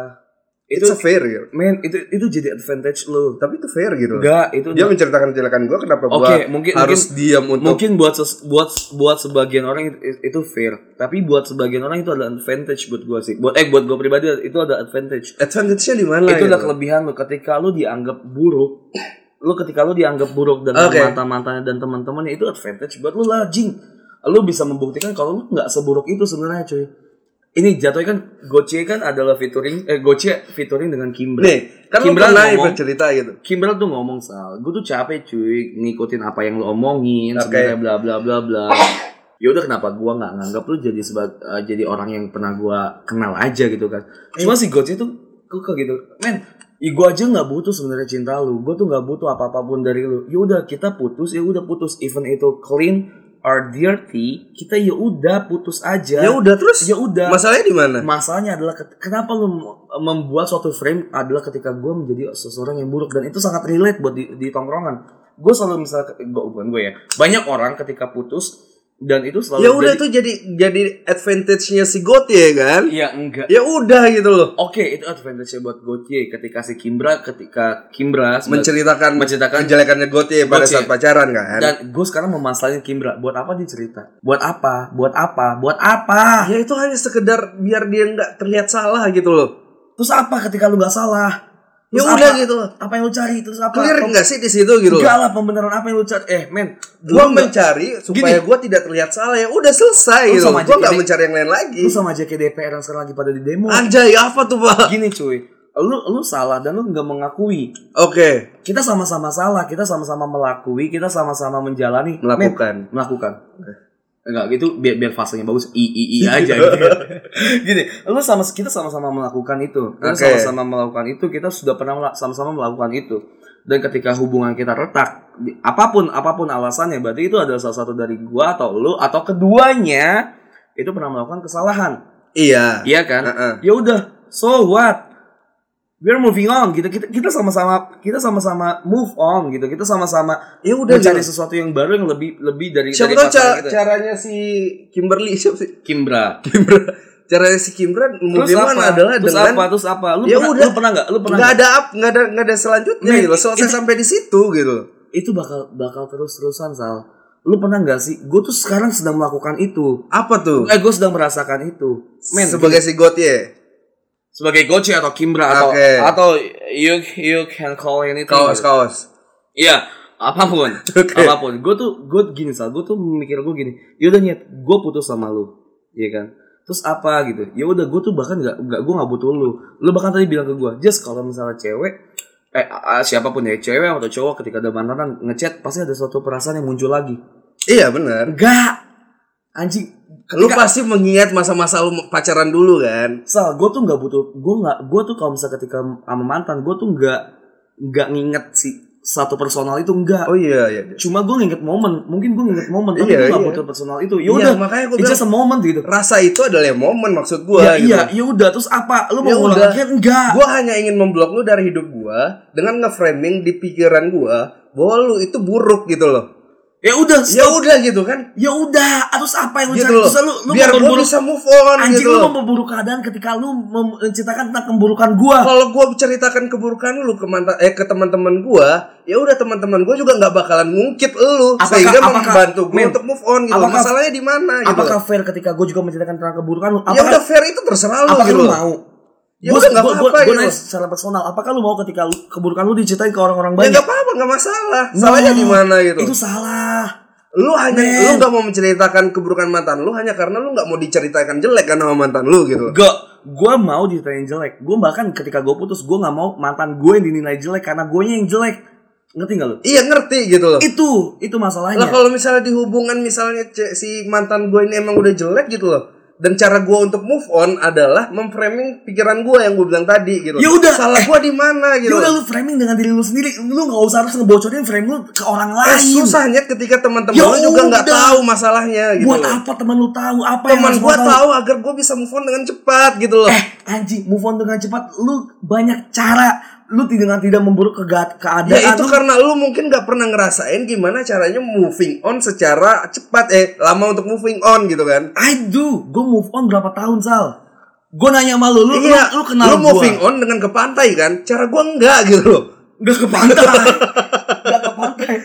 Speaker 3: It's a
Speaker 5: Itu
Speaker 3: fair gitu.
Speaker 5: men itu itu jadi advantage lu.
Speaker 3: Tapi itu fair gitu. loh.
Speaker 5: Enggak, itu
Speaker 3: Dia menceritakan kejelekan gua kenapa gua
Speaker 5: Oke, mungkin-
Speaker 3: harus diam untuk
Speaker 5: mungkin buat ses- buat buat sebagian orang itu, itu fair, tapi buat sebagian orang itu adalah advantage buat gua sih. Buat eh buat gua pribadi itu ada advantage.
Speaker 3: advantage-nya di mana
Speaker 5: itu
Speaker 3: gitu
Speaker 5: adalah kelebihan lu ketika lu dianggap buruk lu ketika lu dianggap buruk dan
Speaker 3: Oke.
Speaker 5: mata-matanya dan teman-temannya itu advantage buat lu lah jing lu bisa membuktikan kalau lu nggak seburuk itu sebenarnya cuy ini jatuhnya kan Goce kan adalah featuring eh Goce featuring dengan Kimbra
Speaker 3: Nih, kan lu
Speaker 5: Kimbra
Speaker 3: pernah
Speaker 5: ngomong-
Speaker 3: bercerita gitu.
Speaker 5: Kimbra tuh ngomong sal gue tuh capek cuy ngikutin apa yang lu omongin
Speaker 3: Oke.
Speaker 5: sebenarnya bla bla bla bla ya udah kenapa gua nggak nganggap lu jadi sebag- eh, jadi orang yang pernah gua kenal aja gitu kan
Speaker 3: Iya.
Speaker 5: cuma si Goce tuh kok gitu men Ya gue aja nggak butuh sebenarnya cinta lu. Gue tuh nggak butuh apa apapun dari lu. Ya udah kita putus, ya udah putus. Even itu clean or dirty, kita ya udah putus aja.
Speaker 3: Ya udah terus
Speaker 5: Ya udah.
Speaker 3: masalahnya di mana?
Speaker 5: Masalahnya adalah ket- kenapa lu mem- membuat suatu frame adalah ketika gue menjadi seseorang yang buruk dan itu sangat relate buat di, di tongkrongan. Gue selalu misal gue bukan gue ya. Banyak orang ketika putus dan itu selalu
Speaker 3: Ya udah
Speaker 5: jadi-
Speaker 3: itu jadi jadi advantage-nya si Goti ya kan?
Speaker 5: Iya enggak.
Speaker 3: Ya udah gitu loh.
Speaker 5: Oke, itu advantage buat Gauthier ketika si Kimbra ketika Kimbra sebagai-
Speaker 3: Menceritakan
Speaker 5: menceritakan
Speaker 3: kejelekannya Goti pada
Speaker 5: Gotye.
Speaker 3: saat pacaran kan?
Speaker 5: Dan gue sekarang memasalahin Kimbra. Buat apa dia cerita? Buat apa? Buat apa? Buat apa?
Speaker 3: ya itu hanya sekedar biar dia nggak terlihat salah gitu loh.
Speaker 5: Terus apa ketika lu nggak salah?
Speaker 3: Ya
Speaker 5: Terus
Speaker 3: udah
Speaker 5: apa?
Speaker 3: gitu loh.
Speaker 5: Apa yang lu cari? Terus apa?
Speaker 3: Clear
Speaker 5: Pem-
Speaker 3: nggak sih di situ gitu
Speaker 5: Enggak
Speaker 3: loh?
Speaker 5: lah pembenaran apa yang lu cari? Eh men,
Speaker 3: Gua
Speaker 5: lu nggak-
Speaker 3: mencari supaya gua tidak terlihat salah ya udah selesai
Speaker 5: Lu
Speaker 3: gitu. Gua
Speaker 5: sama aja
Speaker 3: nggak
Speaker 5: kayak-
Speaker 3: mencari yang lain lagi.
Speaker 5: Lu sama aja kayak DPR yang sekarang lagi pada di demo.
Speaker 3: Anjay apa tuh pak?
Speaker 5: Gini cuy, lu lu salah dan lu nggak mengakui.
Speaker 3: Oke
Speaker 5: Kita sama-sama salah, kita sama-sama melakui, kita sama-sama menjalani. Men,
Speaker 3: melakukan.
Speaker 5: melakukan Eh, enggak gitu biar biar fasenya bagus i i i aja gitu. gini lu sama kita sama-sama melakukan itu kita
Speaker 3: Oke.
Speaker 5: sama-sama melakukan itu kita sudah pernah mela- sama-sama melakukan itu dan ketika hubungan kita retak di- apapun apapun alasannya berarti itu adalah salah satu dari gua atau lu atau keduanya itu pernah melakukan kesalahan
Speaker 3: Iya.
Speaker 5: iya kan
Speaker 3: Heeh.
Speaker 5: ya udah so what we're moving on gitu kita kita sama-sama kita sama-sama move on gitu kita sama-sama
Speaker 3: Ya udah
Speaker 5: udah cari
Speaker 3: gitu.
Speaker 5: sesuatu yang baru yang lebih lebih dari gitu.
Speaker 3: Siapa
Speaker 5: dari
Speaker 3: tahu
Speaker 5: pasangan
Speaker 3: ca-
Speaker 5: kita.
Speaker 3: caranya si Kimberly siapa sih?
Speaker 5: Kimbra.
Speaker 3: Kimber caranya si kan Kimber
Speaker 5: Terus apa?
Speaker 3: bagaimana adalah
Speaker 5: terus
Speaker 3: dengan
Speaker 5: apa? Terus apa? Lu
Speaker 3: Ya
Speaker 5: pernah,
Speaker 3: udah.
Speaker 5: lu pernah nggak? Lu pernah
Speaker 3: nggak
Speaker 5: nggak?
Speaker 3: ada up nggak ada nggak ada selanjutnya
Speaker 5: Men,
Speaker 3: gitu loh selesai
Speaker 5: itu-
Speaker 3: sampai di situ gitu loh.
Speaker 5: Itu bakal bakal terus terusan Sal. Lu pernah nggak sih? Gue tuh sekarang sedang melakukan itu.
Speaker 3: apa tuh
Speaker 5: Eh, gue sedang merasakan itu. Iya. Men,
Speaker 3: sebagai si God ya
Speaker 5: sebagai Goce atau Kimbra atau
Speaker 3: Oke.
Speaker 5: atau you you can call anything. gitu.
Speaker 3: kaos kaos
Speaker 5: Iya, apapun.
Speaker 3: Oke.
Speaker 5: Apapun. Gue tuh gue gini Sal. Gue tuh mikir gue gini. Ya udah nyet, gue putus sama lu. Iya kan? Terus apa gitu? Ya udah gue tuh bahkan nggak nggak gue nggak butuh lu. Lu bahkan tadi bilang ke gue, just kalau misalnya cewek eh a- a- siapapun ya cewek atau cowok ketika ada mantanan ngechat pasti ada suatu perasaan yang muncul lagi.
Speaker 3: iya benar
Speaker 5: Enggak. Anjing,
Speaker 3: lu
Speaker 5: ketika
Speaker 3: pasti mengingat masa-masa lu pacaran dulu kan
Speaker 5: Sal, gue tuh nggak butuh, gue nggak, gue tuh kalau misalnya ketika sama mantan, gue tuh nggak nggak nginget si satu personal itu enggak.
Speaker 3: oh iya iya
Speaker 5: cuma gue nginget momen mungkin gue nginget momen tapi
Speaker 3: Iya,
Speaker 5: gue gak
Speaker 3: iya.
Speaker 5: butuh personal itu
Speaker 3: Iya,
Speaker 5: yaudah
Speaker 3: makanya gue
Speaker 5: Ya it's
Speaker 3: bilang
Speaker 5: just a moment gitu
Speaker 3: rasa itu adalah momen maksud gua
Speaker 5: ya
Speaker 3: gitu.
Speaker 5: iya yaudah terus apa lu mau
Speaker 3: Ya
Speaker 5: ngulang
Speaker 3: udah.
Speaker 5: lagi kan enggak
Speaker 3: gua hanya ingin memblok lu dari hidup gua dengan ngeframing di pikiran gua bahwa lu itu buruk gitu loh
Speaker 5: ya udah
Speaker 3: ya
Speaker 5: stop
Speaker 3: udah gitu kan
Speaker 5: ya udah terus apa yang lu
Speaker 3: gitu
Speaker 5: cari
Speaker 3: loh
Speaker 5: terus lu lu
Speaker 3: biar gua
Speaker 5: memperburuk
Speaker 3: bisa move on
Speaker 5: anjing
Speaker 3: gitu
Speaker 5: lu
Speaker 3: loh
Speaker 5: memperburuk keadaan ketika lu mem- menceritakan tentang keburukan gua
Speaker 3: kalau gue ceritakan keburukan lu ke mantan eh ke teman-teman gue ya udah teman-teman gue juga nggak bakalan ngungkit lu
Speaker 5: Apakah-
Speaker 3: sehingga
Speaker 5: apakah-
Speaker 3: membantu gue
Speaker 5: Min,
Speaker 3: untuk move on gitu
Speaker 5: apakah-
Speaker 3: masalahnya di mana gitu
Speaker 5: apakah fair ketika gua juga menceritakan tentang keburukan lu
Speaker 3: ya udah
Speaker 5: apakah
Speaker 3: fair itu terserah lu
Speaker 5: apakah
Speaker 3: gitu
Speaker 5: lu
Speaker 3: loh.
Speaker 5: mau
Speaker 3: Ya
Speaker 5: Gua-
Speaker 3: udah, nggak
Speaker 5: gua- gua-
Speaker 3: apa-apa
Speaker 5: gua
Speaker 3: gitu.
Speaker 5: nanya secara personal apakah lu mau ketika lu- keburukan lu diceritain ke orang-orang
Speaker 3: ya
Speaker 5: banyak
Speaker 3: nggak apa-apa nggak masalah
Speaker 5: No,
Speaker 3: salahnya di mana gitu
Speaker 5: Nah, itu salah
Speaker 3: lu hanya
Speaker 5: Men.
Speaker 3: lu nggak mau menceritakan keburukan mantan lu hanya karena lu nggak mau diceritakan jelek kan sama mantan lu gitu
Speaker 5: Gak, gue mau diceritain jelek. Gue bahkan ketika gue putus, gue nggak mau mantan gue yang dinilai jelek karena gue yang jelek. Ngerti gak lu?
Speaker 3: iya ngerti gitu loh
Speaker 5: Itu, itu masalahnya.
Speaker 3: lah kalau misalnya di hubungan misalnya ce- si mantan gue ini emang udah jelek gitu loh dan cara gue untuk move on adalah memframing pikiran gue yang gue bilang tadi gitu.
Speaker 5: Ya udah,
Speaker 3: salah
Speaker 5: eh.
Speaker 3: gue di mana
Speaker 5: ya
Speaker 3: gitu.
Speaker 5: udah lu framing dengan diri lu sendiri. Lu nggak usah harus ngebocorin frame lu ke orang
Speaker 3: Eh,
Speaker 5: lain.
Speaker 3: susahnya ketika teman-teman
Speaker 5: Ya
Speaker 3: lu juga nggak
Speaker 5: udah.
Speaker 3: tahu masalahnya gitu.
Speaker 5: Buat
Speaker 3: loh.
Speaker 5: apa teman lu tahu Eh, apa yang
Speaker 3: Teman
Speaker 5: harus
Speaker 3: gue
Speaker 5: gua
Speaker 3: tahu agar gue bisa move on dengan cepat gitu loh.
Speaker 5: Eh, anjing, move on dengan cepat. Lu banyak cara, lu dengan tidak memburuk kega- keadaan
Speaker 3: Ya itu
Speaker 5: lu-
Speaker 3: karena lu mungkin gak pernah ngerasain gimana caranya moving on secara cepat eh lama untuk moving on gitu kan.
Speaker 5: I do. Gue move on berapa tahun sal? Gue nanya sama lu, lu,
Speaker 3: Iya,
Speaker 5: lu, lu kenal
Speaker 3: lu
Speaker 5: gua.
Speaker 3: moving on dengan ke pantai kan. Cara gua enggak gitu loh.
Speaker 5: Gak ke pantai, gak ke pantai.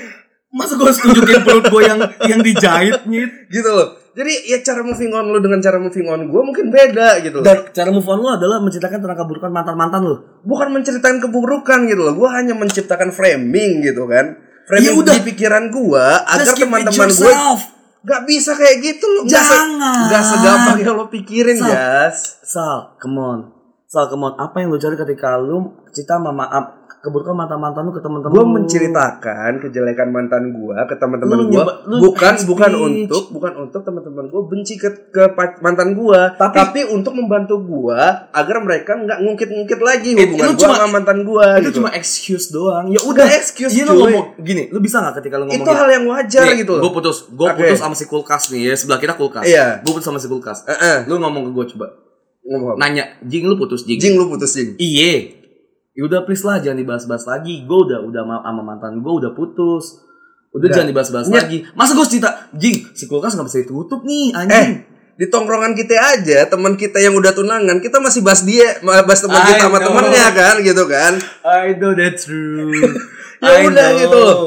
Speaker 5: Masa gue harus tunjukin perut gue yang yang dijahit nyit?
Speaker 3: Gitu loh. Jadi ya cara moving on lu dengan cara moving on gua mungkin beda gitu loh.
Speaker 5: Dan cara move on lu adalah menceritakan tentang keburukan mantan mantan lu.
Speaker 3: Bukan menceritain keburukan gitu loh. Gua hanya menciptakan framing gitu kan. Framing
Speaker 5: Ya udah.
Speaker 3: di pikiran gua agar
Speaker 5: Just keep it
Speaker 3: teman-teman gue
Speaker 5: yourself.
Speaker 3: gak bisa kayak gitu loh. Nggak se-
Speaker 5: Jangan.
Speaker 3: nggak segampang yang lo pikirin,
Speaker 5: Sal.
Speaker 3: Jas.
Speaker 5: Sal, come on. Sal, come on. Apa yang lu cari ketika lu cerita sama maaf keburukan mantan mantan lu ke teman-teman?
Speaker 3: gue
Speaker 5: lu?
Speaker 3: menceritakan kejelekan mantan gue ke
Speaker 5: Oh. Lu
Speaker 3: teman-teman gue
Speaker 5: nyoba- lu
Speaker 3: bukan
Speaker 5: hate
Speaker 3: bukan
Speaker 5: speech.
Speaker 3: untuk bukan untuk teman-teman gue benci ke, ke pa- mantan gue tapi,
Speaker 5: Tapi-
Speaker 3: untuk membantu gue agar mereka nggak ngungkit-ngungkit lagi
Speaker 5: Eh,
Speaker 3: hubungan
Speaker 5: lu
Speaker 3: gue
Speaker 5: cuma-
Speaker 3: sama mantan gue
Speaker 5: Itu
Speaker 3: gitu
Speaker 5: cuma excuse doang. Ya
Speaker 3: udah
Speaker 5: udah.
Speaker 3: excuse
Speaker 5: Iya
Speaker 3: cuy.
Speaker 5: lu ngomong gini, lu bisa gak ketika lu ngomong
Speaker 3: itu hal yang wajar gitu
Speaker 5: Gue
Speaker 3: loh
Speaker 5: putus, gue
Speaker 3: Oke.
Speaker 5: putus sama si kulkas nih ya sebelah kita kulkas.
Speaker 3: Iya.
Speaker 5: Gue putus sama si kulkas. Eh,
Speaker 3: Heeh.
Speaker 5: Lu ngomong ke gue coba,
Speaker 3: ngomong apa?
Speaker 5: nanya, jing lu putus jing?
Speaker 3: jing lu putus jing
Speaker 5: Iye. Ya udah please lah jangan dibahas-bahas lagi. Gue udah udah ma- sama mantan gue udah putus. Udah
Speaker 3: Udah.
Speaker 5: jangan dibahas-bahas
Speaker 3: Nyet.
Speaker 5: lagi. Masa gue cerita, jing si kulkas nggak bisa ditutup nih
Speaker 3: eh
Speaker 5: anjing.
Speaker 3: di tongkrongan kita aja teman kita yang udah tunangan kita masih bahas dia bahas teman
Speaker 5: I
Speaker 3: kita sama
Speaker 5: know.
Speaker 3: temennya kan gitu kan
Speaker 5: I know that's true.
Speaker 3: Ya
Speaker 5: I
Speaker 3: udah
Speaker 5: know.
Speaker 3: gitu loh.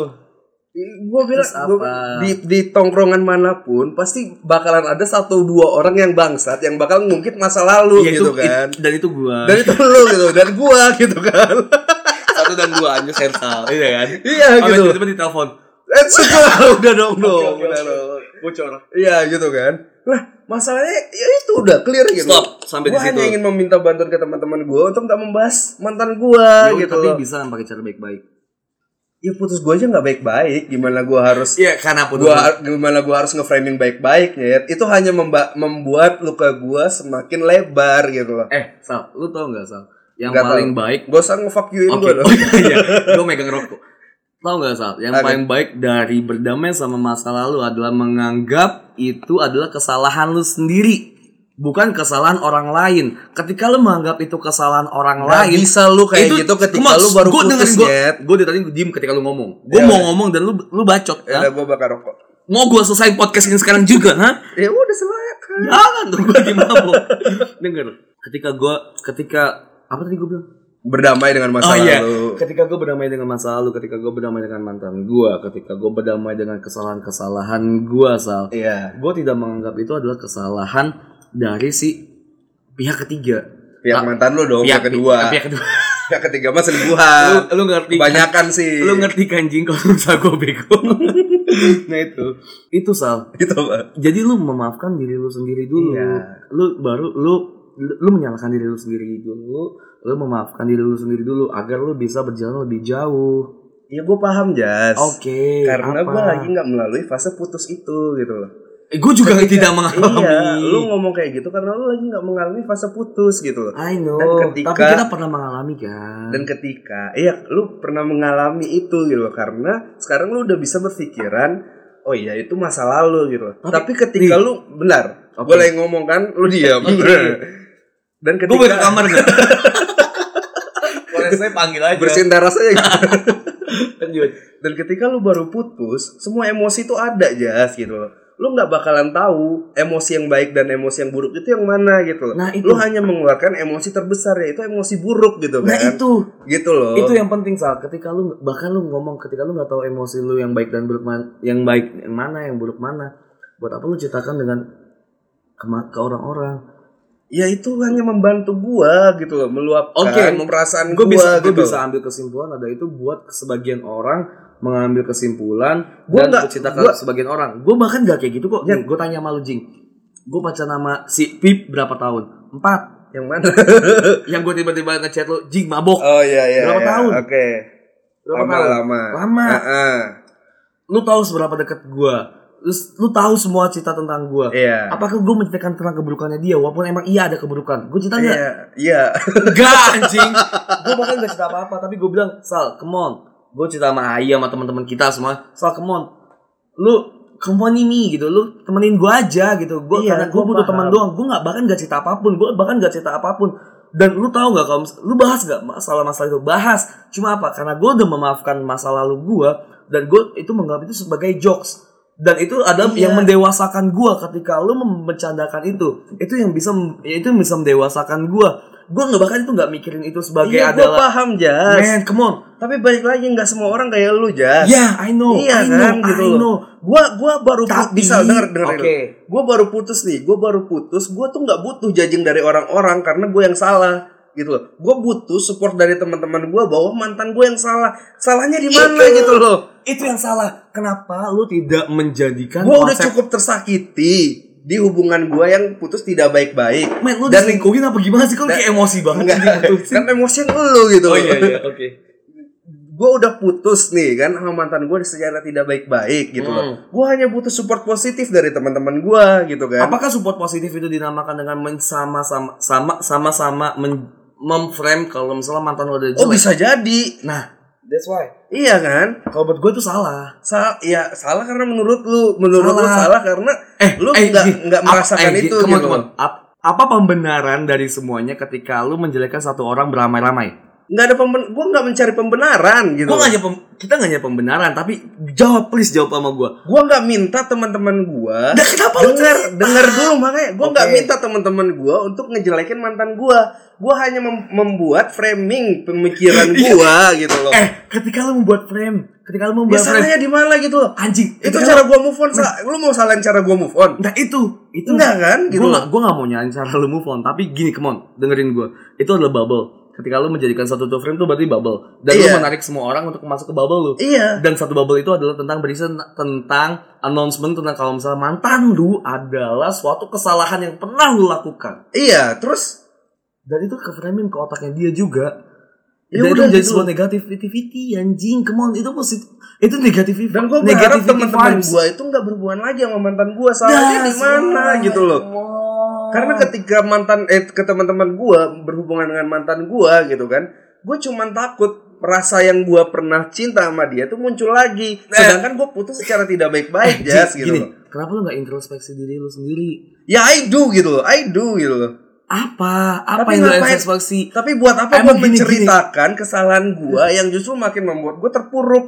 Speaker 3: gue bilang
Speaker 5: Terus
Speaker 3: gua-
Speaker 5: apa?
Speaker 3: di di tongkrongan manapun pasti bakalan ada satu dua orang yang bangsat yang bakal ngungkit masa lalu
Speaker 5: Iya,
Speaker 3: gitu
Speaker 5: itu- Iya.
Speaker 3: kan
Speaker 5: it- dan itu gue.
Speaker 3: dan itu lu gitu dan gua gitu kan
Speaker 5: Eh, satu dan dua anjir sensal. Iya kan?
Speaker 3: Iya,
Speaker 5: Sampai
Speaker 3: gitu.
Speaker 5: Tiba-tiba ditelepon.
Speaker 3: eh sudah udah dong dong
Speaker 5: oke,
Speaker 3: udah
Speaker 5: oke.
Speaker 3: dong
Speaker 5: Bocor.
Speaker 3: iya gitu kan nah masalahnya ya itu udah clear gitu
Speaker 5: Stop, sampai di
Speaker 3: Gua hanya
Speaker 5: situ.
Speaker 3: ingin meminta bantuan ke teman-teman gua untuk tak membahas mantan gua
Speaker 5: Ya,
Speaker 3: gitu
Speaker 5: tapi
Speaker 3: loh.
Speaker 5: bisa pakai cara baik-baik.
Speaker 3: ya putus gua aja nggak baik-baik gimana gua harus
Speaker 5: Iya, karena pun
Speaker 3: gua gimana gua harus ngeframing baik-baik ya itu hanya memba- membuat luka gua semakin lebar gitu loh
Speaker 5: eh Sal, lu tau gak Sal? Yang
Speaker 3: Nggak
Speaker 5: paling
Speaker 3: tahu.
Speaker 5: baik
Speaker 3: gak usah ngefuck you
Speaker 5: Oke,
Speaker 3: gua loh
Speaker 5: oh, iya, iya. Gua megang rokok. Tau gak Sal? Yang
Speaker 3: Oke.
Speaker 5: paling baik dari berdamai sama masa lalu adalah menganggap itu adalah kesalahan lu sendiri. Bukan kesalahan orang lain. Ketika lu menganggap itu kesalahan orang
Speaker 3: Nggak
Speaker 5: lain,
Speaker 3: bisa lu kayak gitu ketika lu baru putus ya.
Speaker 5: gue,
Speaker 3: Nyet.
Speaker 5: gue dari tadi diem ketika lu ngomong. Gue
Speaker 3: Ya,
Speaker 5: mau
Speaker 3: udah.
Speaker 5: ngomong dan lu lu
Speaker 3: ya
Speaker 5: bacot.
Speaker 4: Eh.
Speaker 5: ha?
Speaker 3: udah gua bakar rokok
Speaker 5: Mau gue selesaiin podcast ini sekarang juga, nah. ha?
Speaker 3: ya udah selayak kan
Speaker 5: Jangan dong gue dimabuk. Dengar, ketika gue ketika apa tadi gue bilang?
Speaker 3: berdamai dengan masa
Speaker 5: Oh, iya.
Speaker 3: lalu
Speaker 5: Ketika gue berdamai dengan masa lalu, ketika gue berdamai dengan mantan gue, ketika gue berdamai dengan kesalahan-kesalahan gue, Sal.
Speaker 3: iya
Speaker 5: Gue tidak menganggap itu adalah kesalahan dari si pihak ketiga.
Speaker 3: pihak
Speaker 5: Ah,
Speaker 3: mantan lu dong pihak kedua
Speaker 5: Pihak kedua.
Speaker 3: pihak ketiga mah selingkuhan
Speaker 5: lu, lu ngerti? kan?
Speaker 3: kebanyakan sih
Speaker 5: Lu ngerti kan jing kalau misalnya gue bego. nah itu. Itu Sal.
Speaker 3: gitu Pak.
Speaker 5: Jadi lu memaafkan diri lu sendiri dulu.
Speaker 3: Iya.
Speaker 5: Lu baru lu lu menyalahkan diri lu sendiri dulu. Lu memaafkan diri lu sendiri dulu agar lu bisa berjalan lebih jauh.
Speaker 3: ya gua paham jas
Speaker 5: Oke.
Speaker 3: karena
Speaker 5: apa?
Speaker 3: gua lagi nggak melalui fase putus itu gitu loh
Speaker 5: Eh, gua juga
Speaker 3: Ketika-
Speaker 5: tidak mengalami.
Speaker 3: Iya, lu ngomong kayak gitu karena lu lagi nggak mengalami fase putus gitu loh.
Speaker 5: I know.
Speaker 3: Dan ketika-
Speaker 5: Tapi kita pernah mengalami kan.
Speaker 3: Dan ketika, iya, lu pernah mengalami itu gitu loh karena sekarang lu udah bisa berpikiran, oh iya itu masa lalu gitu loh. Tapi,
Speaker 5: Tapi-
Speaker 3: ketika
Speaker 5: nih.
Speaker 3: lu benar,
Speaker 5: Oke.
Speaker 3: boleh ngomong kan, lu diam. Dan
Speaker 5: Gua boleh ke
Speaker 3: ketika
Speaker 5: kamar enggak? Boleh saya panggil aja.
Speaker 3: bersihin teras aja gitu.
Speaker 5: Lanjut.
Speaker 3: Dan ketika lu baru putus, semua emosi itu ada jas gitu loh. Lu nggak bakalan tahu emosi yang baik dan emosi yang buruk itu yang mana gitu loh.
Speaker 5: Nah, itu.
Speaker 3: Lu hanya mengeluarkan emosi terbesar yaitu emosi buruk gitu
Speaker 5: Nah,
Speaker 3: kan.
Speaker 5: itu.
Speaker 3: Gitu loh.
Speaker 5: itu yang penting sal Nah, ketika lu bahkan lu ngomong ketika lu nggak tahu emosi lu yang baik dan buruk man- yang baik yang mana yang buruk mana buat apa lu ceritakan dengan ke, ma- ke orang-orang
Speaker 3: ya itu hanya membantu gua gitu loh meluapkan
Speaker 5: Oke,
Speaker 3: perasaan gua,
Speaker 5: gue bisa gua
Speaker 3: gitu.
Speaker 5: bisa ambil kesimpulan ada itu buat sebagian orang mengambil kesimpulan
Speaker 3: Gua
Speaker 5: dan
Speaker 3: nggak-
Speaker 5: menceritakan
Speaker 3: gua-
Speaker 5: sebagian orang gue bahkan nggak kayak gitu kok
Speaker 3: Ya.
Speaker 5: gue tanya sama lu jing gue pacaran sama si pip berapa tahun empat
Speaker 3: yang mana
Speaker 5: yang gue tiba-tiba ngechat lu jing mabok
Speaker 3: oh iya iya
Speaker 5: Berapa
Speaker 3: iya.
Speaker 5: tahun?
Speaker 3: oke
Speaker 5: berapa
Speaker 3: lama
Speaker 5: tahun
Speaker 3: lama
Speaker 5: lama
Speaker 3: Heeh.
Speaker 5: lu tahu seberapa dekat gue terus lu tahu semua cerita tentang gue
Speaker 3: iya
Speaker 5: Apakah gue menceritakan tentang keburukannya dia Walaupun emang iya ada keburukan Gue cerita gak?
Speaker 3: iya iya
Speaker 5: Enggak anjing Gue bahkan gak cerita apa-apa Tapi gue bilang Sal come on Gue cerita sama Ayah sama teman-teman kita semua Sal come on Lu company me gitu Lu temenin gue aja gitu gua,
Speaker 3: Iya,
Speaker 5: Karena gue
Speaker 3: gua
Speaker 5: butuh
Speaker 3: paham.
Speaker 5: teman doang Gue gak, bahkan gak cerita apapun Gue bahkan gak cerita apapun
Speaker 4: Dan lu tahu nggak kalau mis- lu bahas nggak masalah-masalah itu bahas. Cuma apa? Karena gue udah memaafkan masa lalu gue dan gue itu menganggap itu sebagai jokes. Dan itu adalah
Speaker 6: Iya.
Speaker 4: yang mendewasakan gue ketika lu mem- mencandakan itu. Itu yang bisa mem- ya, itu yang bisa mendewasakan gue. Gue nggak bahkan itu nggak mikirin itu sebagai
Speaker 3: Iya, gue
Speaker 4: adalah
Speaker 3: paham Jas.
Speaker 4: man come on.
Speaker 3: Tapi balik lagi nggak semua orang kayak lu Jas.
Speaker 4: Yeah, I know.
Speaker 3: Iya
Speaker 4: I
Speaker 3: kan
Speaker 4: know,
Speaker 3: gitu.
Speaker 4: I
Speaker 3: loh.
Speaker 4: know.
Speaker 3: Gua gua baru put-
Speaker 4: Tapi-
Speaker 3: bisa denger denger
Speaker 4: Oke.
Speaker 3: Gua baru putus nih. Gua baru putus. Gua tuh nggak butuh judging dari orang-orang karena gue yang salah gitu loh. Gua butuh support dari teman-teman gua bahwa mantan gue yang salah. Salahnya di mana
Speaker 4: Itu.
Speaker 3: gitu loh.
Speaker 4: Itu yang salah. Kenapa lu tidak menjadikan
Speaker 3: Gua udah
Speaker 4: konsep-
Speaker 3: cukup tersakiti di hubungan gua yang putus tidak baik-baik.
Speaker 4: Men, lu
Speaker 3: Dan-
Speaker 4: diselingkuhin apa gimana sih? Kok lu kayak emosi banget gitu?
Speaker 3: Enggak,
Speaker 4: jadi putusin?
Speaker 3: kan emosian lu gitu.
Speaker 4: Oh iya, iya, oke.
Speaker 3: gue udah putus nih kan sama mantan gue secara tidak baik-baik gitu loh.
Speaker 4: Hmm.
Speaker 3: Gue hanya butuh support positif dari teman-teman gue gitu kan.
Speaker 4: Apakah support positif itu dinamakan dengan men- sama-sama sama sama-sama men- memframe kalau misalnya mantan lo ada
Speaker 3: Oh bisa jadi.
Speaker 4: Nah, that's why.
Speaker 3: Iya kan?
Speaker 4: Kalau buat gue itu salah.
Speaker 3: Sa ya salah karena menurut lu, menurut lu
Speaker 4: Salah. Eh,
Speaker 3: salah karena lu nggak
Speaker 4: Ji,
Speaker 3: nggak
Speaker 4: ap-
Speaker 3: merasakan
Speaker 4: eh, Ji,
Speaker 3: itu
Speaker 4: come on,
Speaker 3: gitu.
Speaker 4: come on. Ap- apa pembenaran dari semuanya ketika lu menjelekkan satu orang beramai-ramai?
Speaker 3: Nggak ada pemben gue nggak mencari pembenaran gitu.
Speaker 4: Gua nggak nyapa kita nggak nyapa pembenaran, tapi jawab please jawab sama gue.
Speaker 3: Gue nggak minta teman-teman gue.
Speaker 4: Nah, kenapa lu Ah,
Speaker 3: Dengar, dengar dulu makanya gue nggak
Speaker 4: Oke.
Speaker 3: minta teman-teman gue untuk ngejelekin mantan gue. Gue hanya mem- membuat framing pemikiran gue gitu loh.
Speaker 4: Iya. Eh, ketika lu membuat frame, ketika lu
Speaker 3: Ya
Speaker 4: membuat frame,
Speaker 3: salahnya di mana gitu loh.
Speaker 4: anjing
Speaker 3: Itu
Speaker 4: ketika
Speaker 3: cara gua move on, Sa. Lu mau salahin cara gua move on?
Speaker 4: Nah itu, itu
Speaker 3: Enggak kan gitu.
Speaker 4: gue
Speaker 3: loh.
Speaker 4: gak, gue gak mau nyalain cara lu move on tapi gini come on dengerin gue itu adalah bubble ketika lu menjadikan satu tuh frame tuh berarti bubble dan
Speaker 3: Iya.
Speaker 4: lu menarik semua orang untuk masuk ke bubble lu
Speaker 3: Iya.
Speaker 4: dan satu bubble itu adalah tentang berisi tentang announcement tentang kalau misalnya mantan lu adalah suatu kesalahan yang pernah lu lakukan
Speaker 3: Iya, terus
Speaker 4: dan itu ke framing ke otaknya dia juga
Speaker 3: Ya
Speaker 4: dan
Speaker 3: udah
Speaker 4: itu menjadi
Speaker 3: gitu.
Speaker 4: sebuah negativity anjing come on itu positif itu negativity
Speaker 3: dan gua berharap teman-teman gua itu nggak berhubungan lagi sama mantan gua. Salahnya di mana
Speaker 4: ya
Speaker 3: gitu loh. Karena ketika mantan eh ke teman-teman gua berhubungan dengan mantan gua gitu kan, gua cuman takut rasa yang gua pernah cinta sama dia tuh muncul lagi. Sedangkan gua putus secara tidak baik-baik, Jas gitu
Speaker 4: Nah. gini
Speaker 3: loh.
Speaker 4: kenapa lu gak introspeksi diri lu sendiri
Speaker 3: Ya I do gitu loh. I do gitu loh.
Speaker 4: apa apa
Speaker 3: Tapi
Speaker 4: yang lo
Speaker 3: ngapain-
Speaker 4: introspeksi
Speaker 3: Tapi buat apa
Speaker 4: Emang
Speaker 3: gue
Speaker 4: gini-gini.
Speaker 3: menceritakan kesalahan gua yang justru makin membuat gue terpuruk?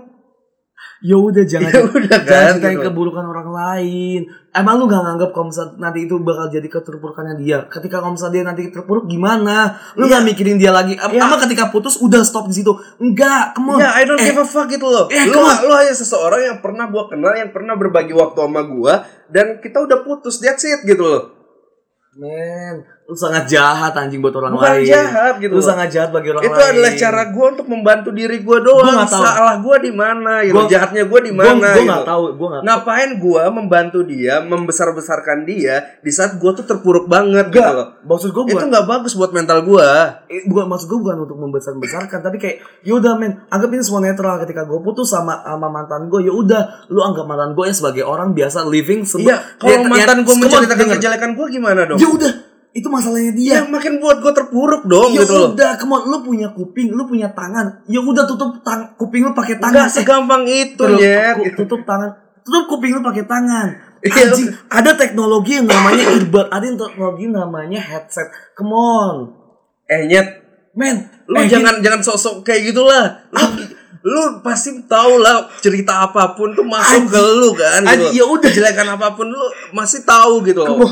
Speaker 4: ya udah jangan
Speaker 3: Ya udah
Speaker 4: jangan
Speaker 3: kan,
Speaker 4: ceritain
Speaker 3: gitu.
Speaker 4: keburukan orang lain emang lu gak nganggap kalau misal nanti itu bakal jadi keterpurukannya dia ketika kalau misal dia nanti terpuruk gimana lu
Speaker 3: Iya.
Speaker 4: gak mikirin dia lagi Em-
Speaker 3: Iya.
Speaker 4: emang ketika putus udah stop di situ enggak come on
Speaker 3: Ya, I don't
Speaker 4: Eh,
Speaker 3: give a fuck gitu loh.
Speaker 4: eh,
Speaker 3: lu,
Speaker 4: come on.
Speaker 3: lu hanya seseorang yang pernah gua kenal, yang pernah berbagi waktu sama gua dan kita udah putus, that's it gitu loh.
Speaker 4: man lu sangat jahat anjing buat orang
Speaker 3: Bukan
Speaker 4: lain
Speaker 3: jahat gitu loh.
Speaker 4: lu sangat jahat bagi orang lain
Speaker 3: Itu adalah cara gua untuk membantu diri gua doang.
Speaker 4: Gua nggak tahu.
Speaker 3: Salah gua di mana, gitu.
Speaker 4: Gua-
Speaker 3: jahatnya gua di
Speaker 4: gue
Speaker 3: mana. gitu.
Speaker 4: gue nggak tahu gue nggak
Speaker 3: Ngapain gua membantu dia, membesar-besarkan dia di saat gua tuh terpuruk banget gitu
Speaker 4: Nggak.
Speaker 3: loh.
Speaker 4: maksud gue
Speaker 3: Itu nggak bagus buat mental gua.
Speaker 4: Eh, bukan maksud gue bukan untuk membesar besarkan tapi kayak yaudah men anggap ini semua netral ketika gue putus sama sama mantan gue yaudah lu anggap mantan gue ya sebagai orang biasa
Speaker 3: Iya,
Speaker 4: living Ya, sebuah
Speaker 3: kalau mantan gue menceritakan
Speaker 4: kejadian
Speaker 3: kejelekan gue gimana dong?
Speaker 4: ya udah itu masalahnya dia
Speaker 3: Ya, makin buat gue terpuruk dong
Speaker 4: ya
Speaker 3: gitu loh.
Speaker 4: udah come on lu punya kuping lu punya tangan ya udah tutup tang kuping lu pakai tangan Eh,
Speaker 3: Enggak gitu segampang itu,
Speaker 4: Tutup-
Speaker 3: Nyet.
Speaker 4: ku- tutup tangan tutup kuping lu pakai tangan
Speaker 3: Iya.
Speaker 4: Anjing, ada teknologi yang namanya earbud, ada teknologi yang namanya headset. Come on,
Speaker 3: Eh, Nyet,
Speaker 4: men,
Speaker 3: lu
Speaker 4: eh, Ah.
Speaker 3: jangan jangan sok-sok kayak gitulah. Lu, lu pasti tau lah cerita apapun tuh masuk
Speaker 4: Anjing.
Speaker 3: ke lu kan gitu.
Speaker 4: Anjing, ya udah.
Speaker 3: kejelekan apapun lu masih tahu gitu loh.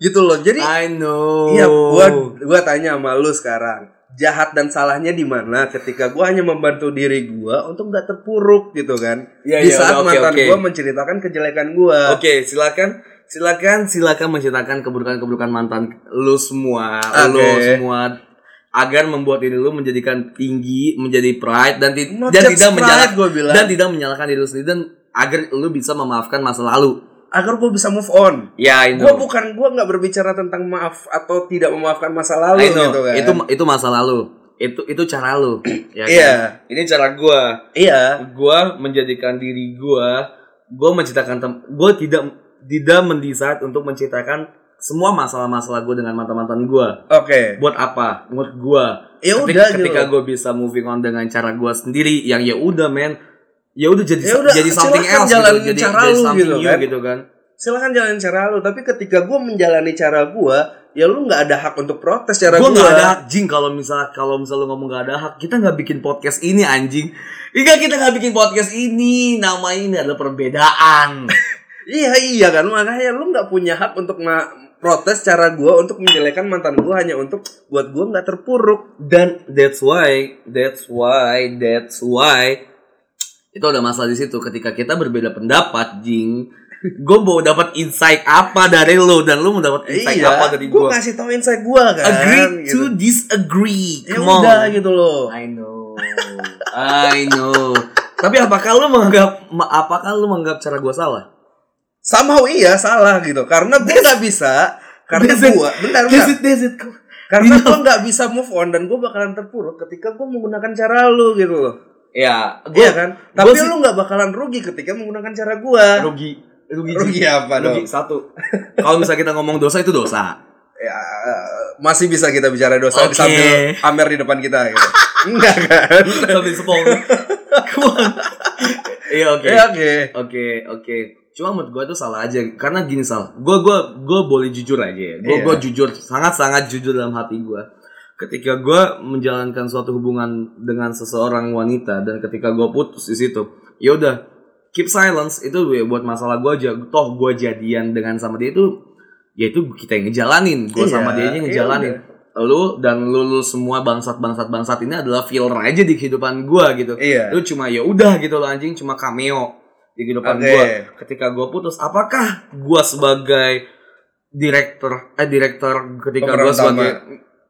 Speaker 3: Gitu loh. Jadi
Speaker 4: I know.
Speaker 3: iya gua gua tanya sama lu sekarang. Jahat dan salahnya di mana ketika gua hanya membantu diri gua untuk gak terpuruk gitu kan.
Speaker 4: Iya,
Speaker 3: di
Speaker 4: iya,
Speaker 3: saat
Speaker 4: udah, oke,
Speaker 3: mantan
Speaker 4: oke.
Speaker 3: gua menceritakan kejelekan gua.
Speaker 4: Oke, silakan silakan silakan menceritakan keburukan-keburukan mantan lu semua,
Speaker 3: Oke.
Speaker 4: lu semua agar membuat diri lu menjadikan tinggi, menjadi pride dan, ti-
Speaker 3: Not
Speaker 4: dan
Speaker 3: just
Speaker 4: tidak
Speaker 3: pride,
Speaker 4: menyalahkan
Speaker 3: gua bilang.
Speaker 4: dan tidak menyalahkan diri lu sendiri dan agar lu bisa memaafkan masa lalu.
Speaker 3: agar gue bisa move on.
Speaker 4: Ya, itu.
Speaker 3: Gue bukan gue nggak berbicara tentang maaf atau tidak memaafkan masa lalu gitu kan.
Speaker 4: Itu itu masa lalu. Itu itu cara lu. ya kan?
Speaker 3: Iya.
Speaker 4: Ini cara gua.
Speaker 3: iya.
Speaker 4: gua menjadikan diri gua gua menceritakan tem- gua tidak tidak mendesain untuk menceritakan semua masalah-masalah gua dengan mantan-mantan gua
Speaker 3: Oke.
Speaker 4: buat apa buat gua
Speaker 3: Ya
Speaker 4: Ketik-
Speaker 3: udah gitu.
Speaker 4: ketika gua bisa moving on dengan cara gua sendiri yang ya udah men ya udah jadi
Speaker 3: Ya udah,
Speaker 4: jadi something
Speaker 3: silahkan
Speaker 4: else gitu.
Speaker 3: jalanin
Speaker 4: jadi,
Speaker 3: cara
Speaker 4: jadi
Speaker 3: lu
Speaker 4: something
Speaker 3: gitu
Speaker 4: new
Speaker 3: kan.
Speaker 4: gitu kan
Speaker 3: Silahkan jalan cara lu, tapi ketika gue menjalani cara gue, ya lu nggak ada hak untuk protes cara gua.
Speaker 5: Gue
Speaker 3: ya.
Speaker 5: nggak ada hak jing kalau misal kalau misal lu ngomong nggak ada hak kita nggak bikin podcast ini anjing. Iya kita nggak bikin podcast ini nama ini adalah perbedaan.
Speaker 3: Iya iya kan makanya lu nggak punya hak untuk ma- protes cara gua untuk menjelekan mantan gua hanya untuk buat gua nggak terpuruk.
Speaker 5: Dan that's why, that's why, that's why itu ada masalah di situ ketika kita berbeda pendapat, jing. Gue mau dapat insight apa dari lo dan lo mau dapat insight apa dari gue?
Speaker 3: iya, gua ngasih tau insight gua kan.
Speaker 5: Agree
Speaker 3: gitu.
Speaker 5: to disagree.
Speaker 3: Ya
Speaker 5: Come on.
Speaker 3: udah gitu loh.
Speaker 5: I know. I know. Tapi apakah lu menganggap ma- apakah lu menganggap cara gua salah?
Speaker 3: Somehow iya salah gitu karena gua nggak bisa karena
Speaker 5: That's it.
Speaker 3: gua bentar bentar.
Speaker 5: That's it, that's it. Come on.
Speaker 3: Karena
Speaker 5: You know.
Speaker 3: gue nggak bisa move on dan gue bakalan terpuruk ketika gue menggunakan cara lu gitu loh.
Speaker 5: Ya, gua
Speaker 3: Iya kan? Tapi
Speaker 5: sih-
Speaker 3: lu nggak bakalan rugi ketika menggunakan cara gue.
Speaker 5: rugi rugi,
Speaker 3: Rugi
Speaker 5: Ji.
Speaker 3: apa dong?
Speaker 5: Rugi, satu. Kalau misalnya kita ngomong dosa itu dosa.
Speaker 3: Ya, masih bisa kita bicara dosa
Speaker 5: Oke.
Speaker 3: sambil Amer di depan kita gitu. Enggak kan?
Speaker 5: Sampai sepong. Come on. Iya, oke.
Speaker 3: Ya oke.
Speaker 5: Oke, oke. Cuma menurut gue itu salah aja karena gini sal. Gue gua gua boleh jujur aja ya. Gue
Speaker 3: Iya.
Speaker 5: gua jujur sangat-sangat jujur dalam hati gue. Ketika gue menjalankan suatu hubungan dengan seseorang wanita dan ketika gue putus di situ, ya udah keep silence itu ya buat masalah gue aja. Toh gue jadian dengan sama dia itu, ya itu kita yang ngejalanin. Gue
Speaker 3: Iya,
Speaker 5: sama dia aja yang
Speaker 3: iya
Speaker 5: ngejalanin. Lu dan lu, lu semua bangsat-bangsat bangsat ini adalah filler aja di kehidupan gue gitu
Speaker 3: Iya.
Speaker 5: lu cuma ya udah gitu loh anjing cuma cameo di kehidupan
Speaker 3: Oke.
Speaker 5: gua ketika gua putus apakah gua sebagai direktur eh direktur ketika
Speaker 3: Pemeran
Speaker 5: gua
Speaker 3: utama.
Speaker 5: sebagai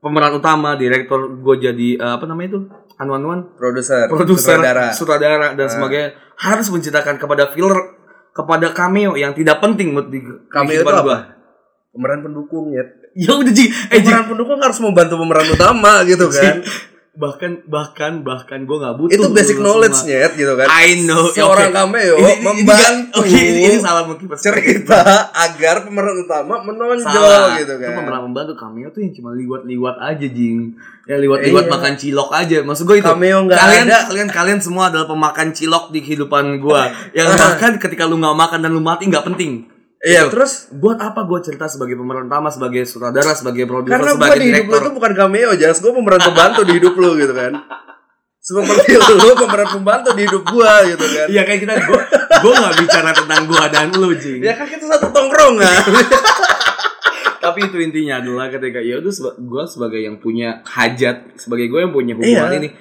Speaker 5: pemeran utama direktur gua jadi eh, apa namanya itu anuan-anuan
Speaker 3: Produser,
Speaker 5: produser
Speaker 3: sutradara.
Speaker 5: sutradara, dan
Speaker 3: Ah.
Speaker 5: sebagainya harus menciptakan kepada filler kepada cameo yang tidak penting menurut di, di
Speaker 3: Cameo
Speaker 5: kehidupan
Speaker 3: itu apa?
Speaker 5: gua.
Speaker 3: Pemeran pendukung ya.
Speaker 5: ya udah Ji. eh Ji.
Speaker 3: Pemeran pendukung harus membantu pemeran utama gitu kan.
Speaker 5: bahkan bahkan bahkan Kan gua nggak butuh
Speaker 3: Itu basic
Speaker 5: lu semua.
Speaker 3: knowledge nya gitu kan.
Speaker 5: I know
Speaker 3: Seorang
Speaker 5: Oke.
Speaker 3: cameo
Speaker 5: Ini- ini-
Speaker 3: membantu.
Speaker 5: ini, ini, ini salah mungkin
Speaker 3: cerita agar pemeran utama menonjol
Speaker 5: salah
Speaker 3: gitu kan.
Speaker 5: itu pemeran membantu cameo tuh yang cuma liwat-liwat aja jing ya liwat-liwat
Speaker 3: Iya.
Speaker 5: makan cilok aja maksud gue itu
Speaker 3: Cameo nggak
Speaker 5: kalian
Speaker 3: ada.
Speaker 5: kalian kalian semua adalah pemakan cilok di kehidupan gua yang bahkan ketika lu nggak makan dan lu mati nggak penting
Speaker 3: Iya, terus
Speaker 5: buat apa gua cerita sebagai pemeran utama sebagai sutradara sebagai produser
Speaker 3: karena gue
Speaker 5: kan
Speaker 3: di
Speaker 5: sebagai
Speaker 3: hidup lo
Speaker 5: direktur
Speaker 3: tuh bukan cameo, jas gue pemeran pembantu di hidup lo gitu kan. Seperti lo pemeran pembantu di hidup gue gitu kan.
Speaker 5: Iya kayak kita gua gua nggak bicara tentang gua dan lu jing
Speaker 3: Ya kan kita satu
Speaker 5: Ya
Speaker 3: tongkrongan.
Speaker 5: tapi itu intinya adalah ketika ya udah seba- gua sebagai yang punya hajat sebagai gue yang punya hubungan
Speaker 3: Iya.
Speaker 5: ini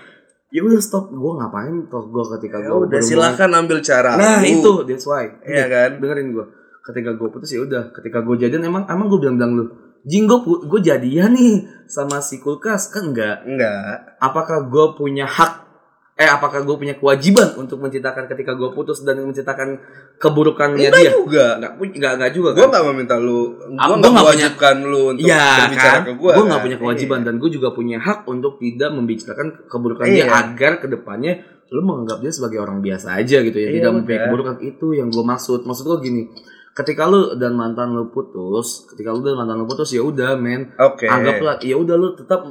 Speaker 5: ya udah stop gue ngapain toh gue ketika
Speaker 3: Ya
Speaker 5: gue
Speaker 3: udah silakan ambil cara.
Speaker 5: nah
Speaker 3: lu.
Speaker 5: itu that's why
Speaker 3: Iya kan?
Speaker 5: dengerin gue ketika gue putus ya udah ketika gue jadian emang emang gue bilang bilang lu jing gue gue jadian nih sama si kulkas kan enggak
Speaker 3: Enggak.
Speaker 5: apakah gue punya hak eh apakah gue punya kewajiban untuk menceritakan ketika gue putus dan menceritakan keburukannya
Speaker 3: Enggak
Speaker 5: dia
Speaker 3: Iya juga.
Speaker 5: enggak punya enggak enggak juga kan?
Speaker 3: Gue gak meminta lu,
Speaker 5: Ah,
Speaker 3: gue
Speaker 5: gua
Speaker 3: gak
Speaker 5: nggak punya-
Speaker 3: mewajibkan lu untuk
Speaker 5: Iya
Speaker 3: berbicara
Speaker 5: kan,
Speaker 3: ke Iya.
Speaker 5: gue
Speaker 3: gue.
Speaker 5: nggak punya kewajiban dan gue juga punya hak untuk tidak membicarakan keburukan dia
Speaker 3: Iya.
Speaker 5: agar kedepannya lu menganggap dia sebagai orang biasa aja gitu ya
Speaker 3: Iya,
Speaker 5: tidak mempunyai
Speaker 3: udah.
Speaker 5: keburukan itu yang gue maksud maksud gue gini ketika lu dan mantan lu putus ketika lu dan mantan lu putus ya udah men
Speaker 3: Oke.
Speaker 5: anggaplah ya udah lu tetap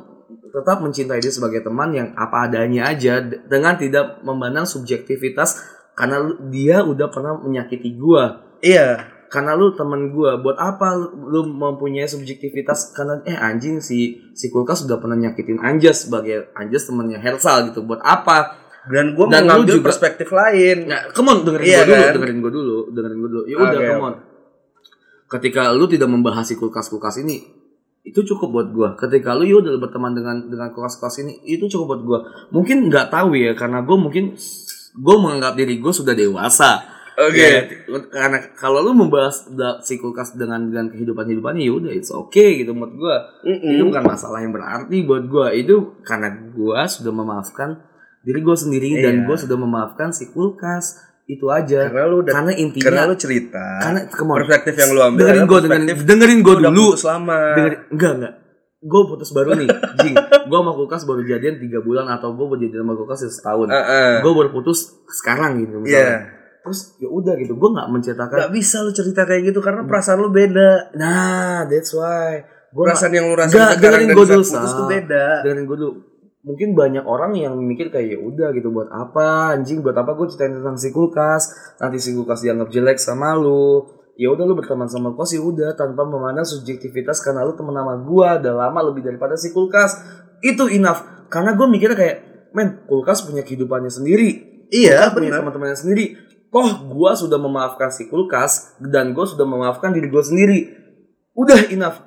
Speaker 5: tetap mencintai dia sebagai teman yang apa adanya aja d- dengan tidak memandang subjektivitas karena lu- dia udah pernah menyakiti gua
Speaker 3: Iya.
Speaker 5: karena lu temen gue buat apa lu, lu mempunyai subjektivitas karena eh anjing si si kulkas sudah pernah nyakitin Anjas sebagai Anjas temennya Hersal gitu buat apa
Speaker 3: Dan gue
Speaker 5: Dan lu
Speaker 3: mengambil
Speaker 5: juga-
Speaker 3: perspektif lain.
Speaker 5: nggak come on dengerin
Speaker 3: Iya
Speaker 5: gue dulu
Speaker 3: kan?
Speaker 5: dengerin gue dulu dengerin gue dulu ya udah
Speaker 3: Oke,
Speaker 5: come on ketika lu tidak membahas si kulkas kulkas ini itu cukup buat gue ketika lu ya udah berteman dengan dengan kulkas kulkas ini itu cukup buat gue mungkin nggak tahu ya karena gue mungkin gue menganggap diri gue sudah dewasa Ya,
Speaker 3: Oke.
Speaker 5: karena kalau lu membahas da- si kulkas dengan dengan kehidupan kehidupannya ya udah it's okay gitu menurut gua. Itu
Speaker 3: Mm-mm.
Speaker 5: bukan masalah yang berarti buat gua. Itu karena gua sudah memaafkan diri gua sendiri dan
Speaker 3: Iya.
Speaker 5: gua sudah memaafkan si kulkas itu aja.
Speaker 3: Karena lu udah,
Speaker 5: Karena intinya
Speaker 3: karena lu cerita.
Speaker 5: karena come on.
Speaker 3: perspektif yang lu ambil
Speaker 5: Kan dengerin
Speaker 3: adalah
Speaker 5: gua dengerin,
Speaker 3: perspektif
Speaker 5: dengerin gua
Speaker 3: lu udah
Speaker 5: dulu.
Speaker 3: putus lama
Speaker 5: Dengerin, enggak enggak. Gue putus baru nih, jing. Gue sama kulkas baru jadian 3 bulan atau gue baru jadian sama kulkas ya setahun.
Speaker 3: Heeh.
Speaker 5: Gue baru putus sekarang
Speaker 3: Iya.
Speaker 5: gitu misalnya. Terus ya udah gitu, gue nggak menceritakan
Speaker 3: Gak bisa lu cerita kayak gitu karena perasaan lu beda.
Speaker 5: Nah, that's why. Gue
Speaker 3: Perasaan yang lu
Speaker 5: Nggak,
Speaker 3: rasain sekarang
Speaker 5: dengerin
Speaker 3: dan
Speaker 5: gua
Speaker 3: saat
Speaker 5: dulu,
Speaker 3: putus
Speaker 5: Sal.
Speaker 3: tuh beda.
Speaker 5: dengerin gue dulu. Mungkin banyak orang yang mikir kayak "Ya udah gitu buat apa anjing buat apa gue ceritain tentang si kulkas nanti si kulkas dianggap jelek sama lu ya udah lu berteman sama kos ya udah tanpa memandang subjektivitas karena lu teman sama gua udah lama lebih daripada si kulkas itu enough karena gua mikirnya kayak men kulkas punya kehidupannya sendiri
Speaker 3: Iya,
Speaker 5: punya
Speaker 3: benar.
Speaker 5: teman-temannya sendiri toh gua sudah memaafkan si kulkas dan gua sudah memaafkan diri gua sendiri udah enough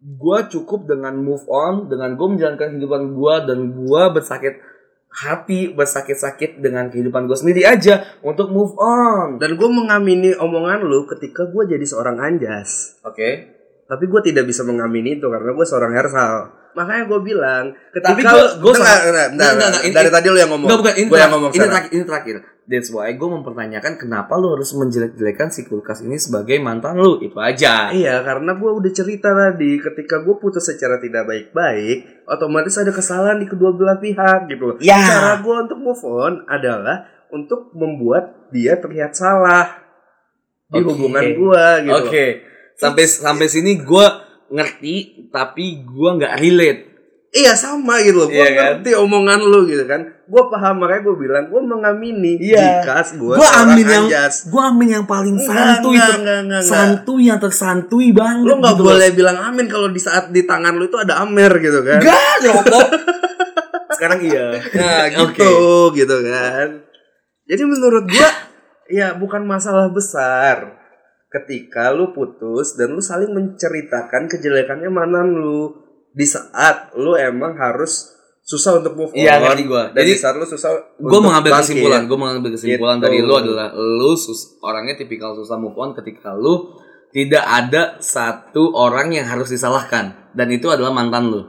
Speaker 5: gua cukup dengan move on dengan gua menjalankan kehidupan gua dan gua bersakit hati bersakit-sakit dengan kehidupan gua sendiri aja untuk move on
Speaker 3: Dan gue mengamini omongan lu ketika gue jadi seorang anjas.
Speaker 5: oke
Speaker 3: Tapi gue tidak bisa mengamini itu karena gue seorang hersal. Makanya gue bilang, ketika
Speaker 5: Tapi gua-
Speaker 3: lu-
Speaker 5: gua
Speaker 3: Bentar,
Speaker 5: sama-
Speaker 3: bentar, bentar,
Speaker 5: Enggak,
Speaker 3: bentar.
Speaker 5: enggak, ini-
Speaker 3: dari tadi lu yang ngomong.
Speaker 5: Enggak bukan ini,
Speaker 3: Gua yang
Speaker 5: terak-
Speaker 3: ngomong
Speaker 5: ini,
Speaker 3: sekarang.
Speaker 5: terak- ini terakhir. That's why gue mempertanyakan kenapa lu harus menjelek-jelekan si kulkas ini sebagai mantan lu itu aja.
Speaker 3: Iya, karena gue udah cerita tadi ketika gue putus secara tidak baik-baik, otomatis ada kesalahan di kedua belah pihak gitu. loh.
Speaker 5: Ya.
Speaker 3: Cara gue untuk move on adalah untuk membuat dia terlihat salah di
Speaker 5: Oke.
Speaker 3: hubungan gue gitu.
Speaker 5: Oke.
Speaker 3: loh.
Speaker 5: Sampai sampai sini gue ngerti tapi gue nggak relate.
Speaker 3: Iya sama gitu loh, gue
Speaker 5: Iya kan?
Speaker 3: ngerti omongan lu gitu kan Gue paham makanya gue bilang, gue mengamini
Speaker 5: Iya.
Speaker 3: jika gue
Speaker 5: Gue amin yang
Speaker 3: anjas
Speaker 5: gue amin yang paling
Speaker 3: Enggak,
Speaker 5: santuy
Speaker 3: enggak,
Speaker 5: ter-
Speaker 3: enggak, enggak, enggak.
Speaker 5: santuy yang tersantui banget.
Speaker 3: Lu gak
Speaker 5: gitu loh.
Speaker 3: boleh bilang amin kalau di saat di tangan lu itu ada amer gitu kan
Speaker 5: Enggak nyokok. Sekarang iya.
Speaker 3: Nah
Speaker 5: Oke.
Speaker 3: gitu gitu kan Jadi menurut gue, ya bukan masalah besar Ketika lu putus dan lu saling menceritakan kejelekannya mantan lu Di saat lu emang harus susah untuk move on
Speaker 5: Iya, ngerti gua.
Speaker 3: Dan
Speaker 5: Jadi,
Speaker 3: di saat lu susah
Speaker 5: gue
Speaker 3: untuk
Speaker 5: mengambil
Speaker 3: bangkit.
Speaker 5: kesimpulan gue mengambil kesimpulan
Speaker 3: Gitu.
Speaker 5: dari lu adalah lu sus- orangnya tipikal susah move on ketika lu tidak ada satu orang yang harus disalahkan dan itu adalah mantan lu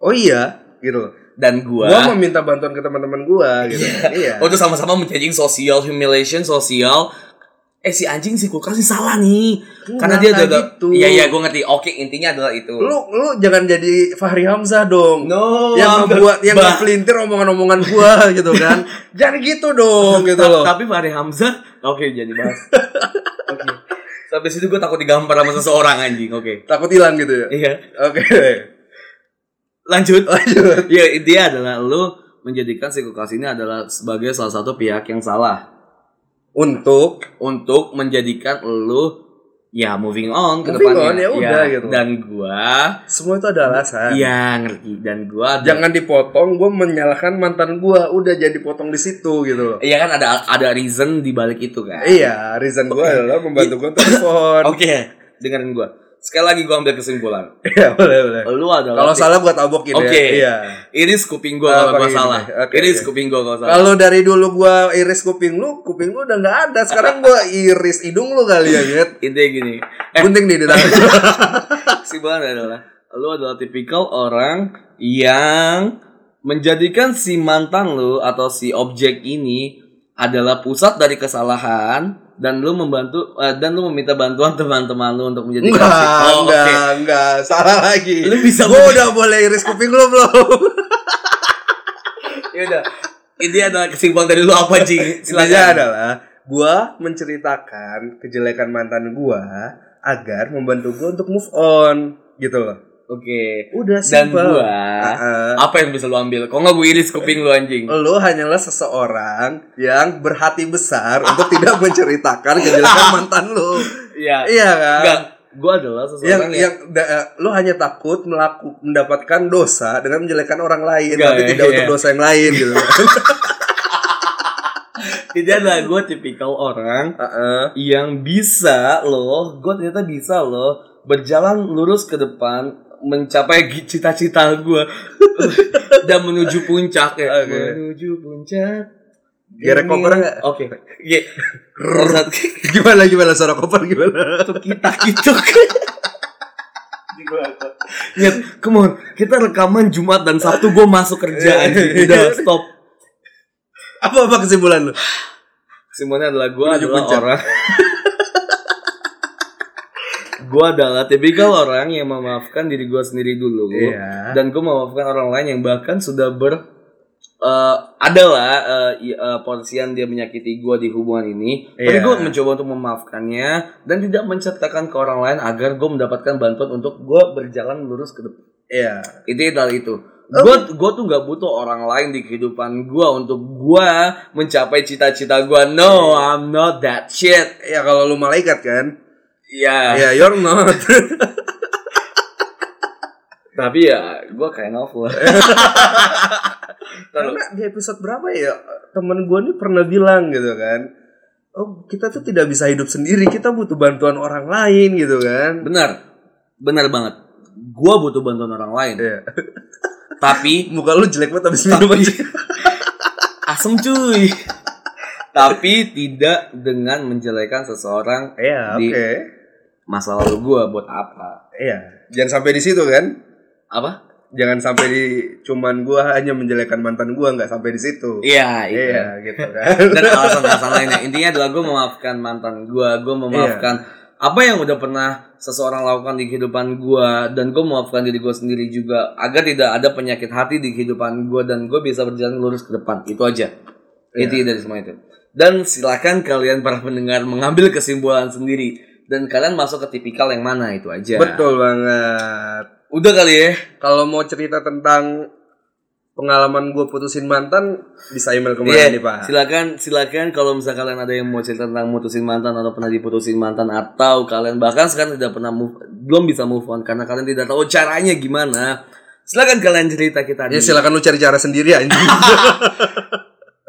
Speaker 3: Oh iya gitu loh
Speaker 5: dan
Speaker 3: gua
Speaker 5: gua
Speaker 3: meminta bantuan ke teman-teman gua gitu iya
Speaker 5: untuk Oh, sama-sama menjajing sosial humiliation sosial eh si anjing si kulkas sih salah nih karena dia
Speaker 3: nggak
Speaker 5: udah
Speaker 3: gitu.
Speaker 5: iya iya gue ngerti oke intinya adalah itu
Speaker 3: lu lu jangan jadi Fahri Hamzah dong
Speaker 5: no
Speaker 3: yang
Speaker 5: I'm
Speaker 3: membuat
Speaker 5: not-
Speaker 3: yang
Speaker 5: Bah,
Speaker 3: ngepelintir omongan-omongan gua gitu kan jangan gitu dong gitu
Speaker 5: ta-
Speaker 3: loh
Speaker 5: tapi Fahri Hamzah oke jadi bahas oke sampai situ gue takut digampar sama seseorang anjing oke
Speaker 3: takut hilang gitu ya
Speaker 5: iya
Speaker 3: oke
Speaker 5: lanjut
Speaker 3: lanjut
Speaker 5: ya intinya adalah lu menjadikan si kulkas ini adalah sebagai salah satu pihak yang salah
Speaker 3: untuk
Speaker 5: untuk menjadikan lu ya moving on ke
Speaker 3: Moving on,
Speaker 5: depannya Iya.
Speaker 3: ya udah gitu.
Speaker 5: dan gua
Speaker 3: semua itu ada alasan
Speaker 5: ya ngerti dan gua ada-
Speaker 3: jangan dipotong gua menyalahkan mantan gua udah jadi potong di situ gitu loh
Speaker 5: iya kan ada ada reason di balik itu kan
Speaker 3: iya reason gua adalah membantu gua untuk move on
Speaker 5: oke dengerin gua sekali lagi gua ambil kesimpulan
Speaker 3: iya boleh boleh
Speaker 5: lu adalah
Speaker 3: kalau salah gua tabokin
Speaker 5: Oke.
Speaker 3: ya iya
Speaker 5: ini scooping
Speaker 3: Ah,
Speaker 5: gua kalau gua
Speaker 3: pakai ini.
Speaker 5: salah
Speaker 3: Oke,
Speaker 5: ini
Speaker 3: oke.
Speaker 5: scooping gua kalau salah
Speaker 3: Kalau dari dulu gua iris kuping lu, kuping lu udah nggak ada. Sekarang gua iris hidung lu kali ya, Get.
Speaker 5: intinya gini eh
Speaker 3: Gunting nih di tangan.
Speaker 5: kesimpulan adalah lu adalah tipikal orang yang menjadikan si mantan lu atau si objek ini adalah pusat dari kesalahan dan lu membantu eh, dan lu meminta bantuan teman-teman lu untuk menjadikan
Speaker 3: Enggak,
Speaker 5: si- Oh, oke.
Speaker 3: enggak, enggak. Salah lagi.
Speaker 5: Lu bisa
Speaker 3: gua
Speaker 5: ngomong-
Speaker 3: udah boleh iris kuping lu belum?
Speaker 5: Yaudah. Ini adalah kesimpulan dari lu apa, Jing?
Speaker 3: Intinya
Speaker 5: Silakan.
Speaker 3: adalah gua menceritakan kejelekan mantan gua agar membantu gua untuk move on gitu loh.
Speaker 5: Oke.
Speaker 3: Udah
Speaker 5: Dan
Speaker 3: simpel.
Speaker 5: gua
Speaker 3: Heeh.
Speaker 5: apa yang bisa lu ambil? Kok enggak gue iris kuping lu anjing?
Speaker 3: Lu hanyalah seseorang yang berhati besar untuk tidak menceritakan kejelekan mantan lu.
Speaker 5: Iya.
Speaker 3: Iya kan?
Speaker 5: Enggak. Gue adalah
Speaker 3: yang
Speaker 5: seseorang
Speaker 3: yang da- eh, lu hanya takut melaku, mendapatkan dosa dengan menjelekkan orang lain
Speaker 5: Enggak,
Speaker 3: tapi
Speaker 5: ya,
Speaker 3: tidak
Speaker 5: iya.
Speaker 3: untuk dosa yang lain gitu.
Speaker 5: Tidak lah, gue tipikal orang yang bisa loh, gue ternyata bisa loh berjalan lurus ke depan mencapai gi- cita-cita gue dan menuju puncak ya.
Speaker 3: Oke.
Speaker 5: Menuju puncak.
Speaker 3: Gerek
Speaker 5: Ini-
Speaker 3: koper nggak?
Speaker 5: Oke. Ge- Orang
Speaker 3: gimana gimana suara koper gimana?
Speaker 5: satu kita gitu. Nyet, come on, kita rekaman Jumat dan Sabtu gue masuk kerja anjing. Udah stop.
Speaker 3: Apa apa kesimpulan lu?
Speaker 5: Semuanya adalah gue
Speaker 3: Menuju
Speaker 5: adalah
Speaker 3: puncak.
Speaker 5: orang Gue adalah tipikal orang yang memaafkan diri gue sendiri dulu
Speaker 3: Iya.
Speaker 5: Dan gue memaafkan orang lain yang bahkan sudah ber eh, Adalah eh, i- eh, porsian dia menyakiti gue di hubungan ini
Speaker 3: Iya.
Speaker 5: Tapi gue mencoba untuk memaafkannya Dan tidak menceritakan ke orang lain agar gue mendapatkan bantuan untuk gue berjalan lurus ke depan
Speaker 3: Iya.
Speaker 5: Itu adalah itu Gue gua tuh nggak butuh orang lain di kehidupan gue untuk gue mencapai cita-cita gue. No, I'm not that shit.
Speaker 3: Ya kalau lu malaikat kan.
Speaker 5: Iya.
Speaker 3: Ya, you're not.
Speaker 5: Tapi ya gue kayak of lah. Ntar lu-
Speaker 3: Karena di episode berapa ya temen gue nih pernah bilang gitu kan. Oh kita tuh tidak bisa hidup sendiri, kita butuh bantuan orang lain gitu kan.
Speaker 5: Benar. Benar banget. Gue butuh bantuan orang lain.
Speaker 3: Iya.
Speaker 5: Tapi
Speaker 3: Muka lu jelek banget abis minum aja.
Speaker 5: asem cuy. Tapi tidak dengan menjelekan seseorang
Speaker 3: Iya, oke.
Speaker 5: Di- masa lalu gue buat apa?
Speaker 3: Iya. Jangan sampai di situ kan.
Speaker 5: Apa?
Speaker 3: Jangan sampai di cuman gua hanya menjelekkan mantan gua nggak sampai di situ.
Speaker 5: Iya, itu.
Speaker 3: Iya, gitu kan.
Speaker 5: Dan alasan-alasan lainnya. Intinya adalah gue memaafkan mantan gue, gue memaafkan apa yang udah pernah seseorang lakukan di kehidupan gue, dan gue memaafkan diri gue sendiri juga agar tidak ada penyakit hati di kehidupan gue dan gue bisa berjalan lurus ke depan. Itu aja. Inti dari semua itu. Dan silakan kalian para pendengar mengambil kesimpulan sendiri dan kalian masuk ke tipikal yang mana itu aja.
Speaker 3: Betul banget.
Speaker 5: Iya. Udah kali ya.
Speaker 3: Kalau mau cerita tentang pengalaman gua putusin mantan bisa email kemana
Speaker 5: Iya,
Speaker 3: nih Pak?
Speaker 5: silakan silakan kalau misalkan kalian ada yang mau cerita tentang mutusin mantan atau pernah diputusin mantan atau kalian bahkan sekarang tidak pernah move, belum bisa move on karena kalian tidak tahu caranya gimana. Silakan kalian cerita kita di
Speaker 3: Ya silakan lu cari cara sendiri anjing.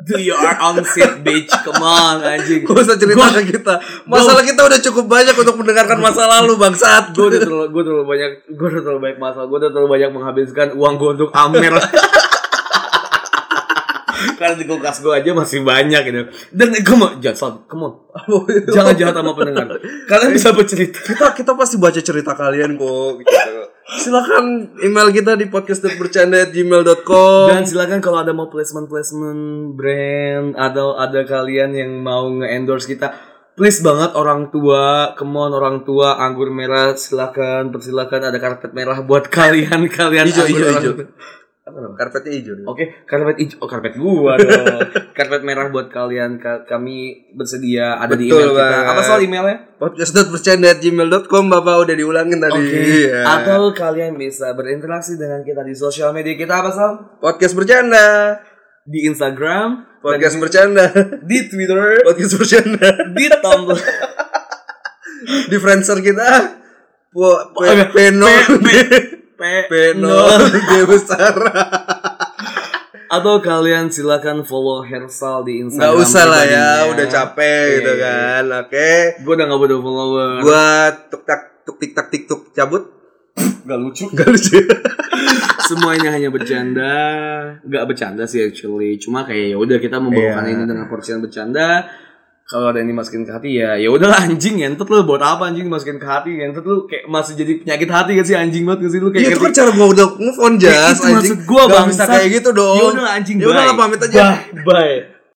Speaker 5: Do your own shit bitch. Come on anjing.
Speaker 3: Gak usah cerita ke kita. Masalah kita udah cukup banyak untuk mendengarkan masa lalu bangsat.
Speaker 5: Gue udah terlalu, gue terlalu banyak, gue udah terlalu banyak masalah, gue udah terlalu banyak menghabiskan uang gue untuk Amer. Karena di kulkas gue aja masih banyak gitu. Dan come on, jangan, come on. Jangan jahat sama pendengar. Kalian bisa bercerita.
Speaker 3: Kita kita pasti baca cerita kalian kok. Gitu. Silakan email kita di podcast@bercanda@gmail.com.
Speaker 5: Dan silakan kalau ada mau placement placement brand atau ada kalian yang mau nge-endorse kita, please banget orang tua, come on orang tua, anggur merah silakan, persilakan ada karpet merah buat kalian kalian
Speaker 3: Hijau,
Speaker 5: anggur
Speaker 3: hijau,
Speaker 5: orang
Speaker 3: hijau.
Speaker 5: tua. Apa namanya?
Speaker 3: Karpetnya hijau. nih.
Speaker 5: Oke, karpet hijau, oh, karpet gua dong. karpet merah buat kalian, Ka- kami bersedia ada di
Speaker 3: Betul
Speaker 5: email kita.
Speaker 3: banget.
Speaker 5: Apa soal emailnya?
Speaker 3: podcast.bercanda@gmail.com Bapak udah diulangin tadi.
Speaker 5: Oke.
Speaker 3: Iya.
Speaker 5: Atau kalian bisa berinteraksi dengan kita di sosial media kita apa soal?
Speaker 3: Podcast bercanda.
Speaker 5: Di Instagram,
Speaker 3: Podcast bercanda.
Speaker 5: di Twitter,
Speaker 3: Podcast bercanda.
Speaker 5: di Tumblr,
Speaker 3: Di Friendster kita. Po, pe,
Speaker 5: Oke.
Speaker 3: peno.
Speaker 5: P-
Speaker 3: Peno. Dia besar.
Speaker 5: atau kalian silakan follow Hersal di
Speaker 3: Nggak
Speaker 5: Instagram.
Speaker 3: usah lah ya. Udah capek gitu kan. Oke.
Speaker 5: Gue udah gak butuh follower.
Speaker 3: gua tuk tak tuk tik tak tik tuk cabut
Speaker 5: Gak lucu.
Speaker 3: gak lucu
Speaker 5: Semuanya hanya bercanda. Gak bercanda sih actually. Cuma kayak ya udah kita membawakan
Speaker 3: Iya.
Speaker 5: ini dengan porsian bercanda. Kalau ada yang dimasukin ke hati ya ya udahlah anjing ngentot lu buat apa anjing dimasukin ke hati ngentot lu kayak masih jadi penyakit hati gak sih anjing banget gak sih lu kayak
Speaker 3: itu
Speaker 5: ngerti-
Speaker 3: kan cara gua udah move on
Speaker 5: Ya,
Speaker 3: jas
Speaker 5: itu maksud gua,
Speaker 3: Nggak
Speaker 5: bangsat.
Speaker 3: bisa kayak gitu dong
Speaker 5: Ya udah anjing.
Speaker 3: ya udah
Speaker 5: bye.
Speaker 3: lah pamit aja
Speaker 5: Bye. bye.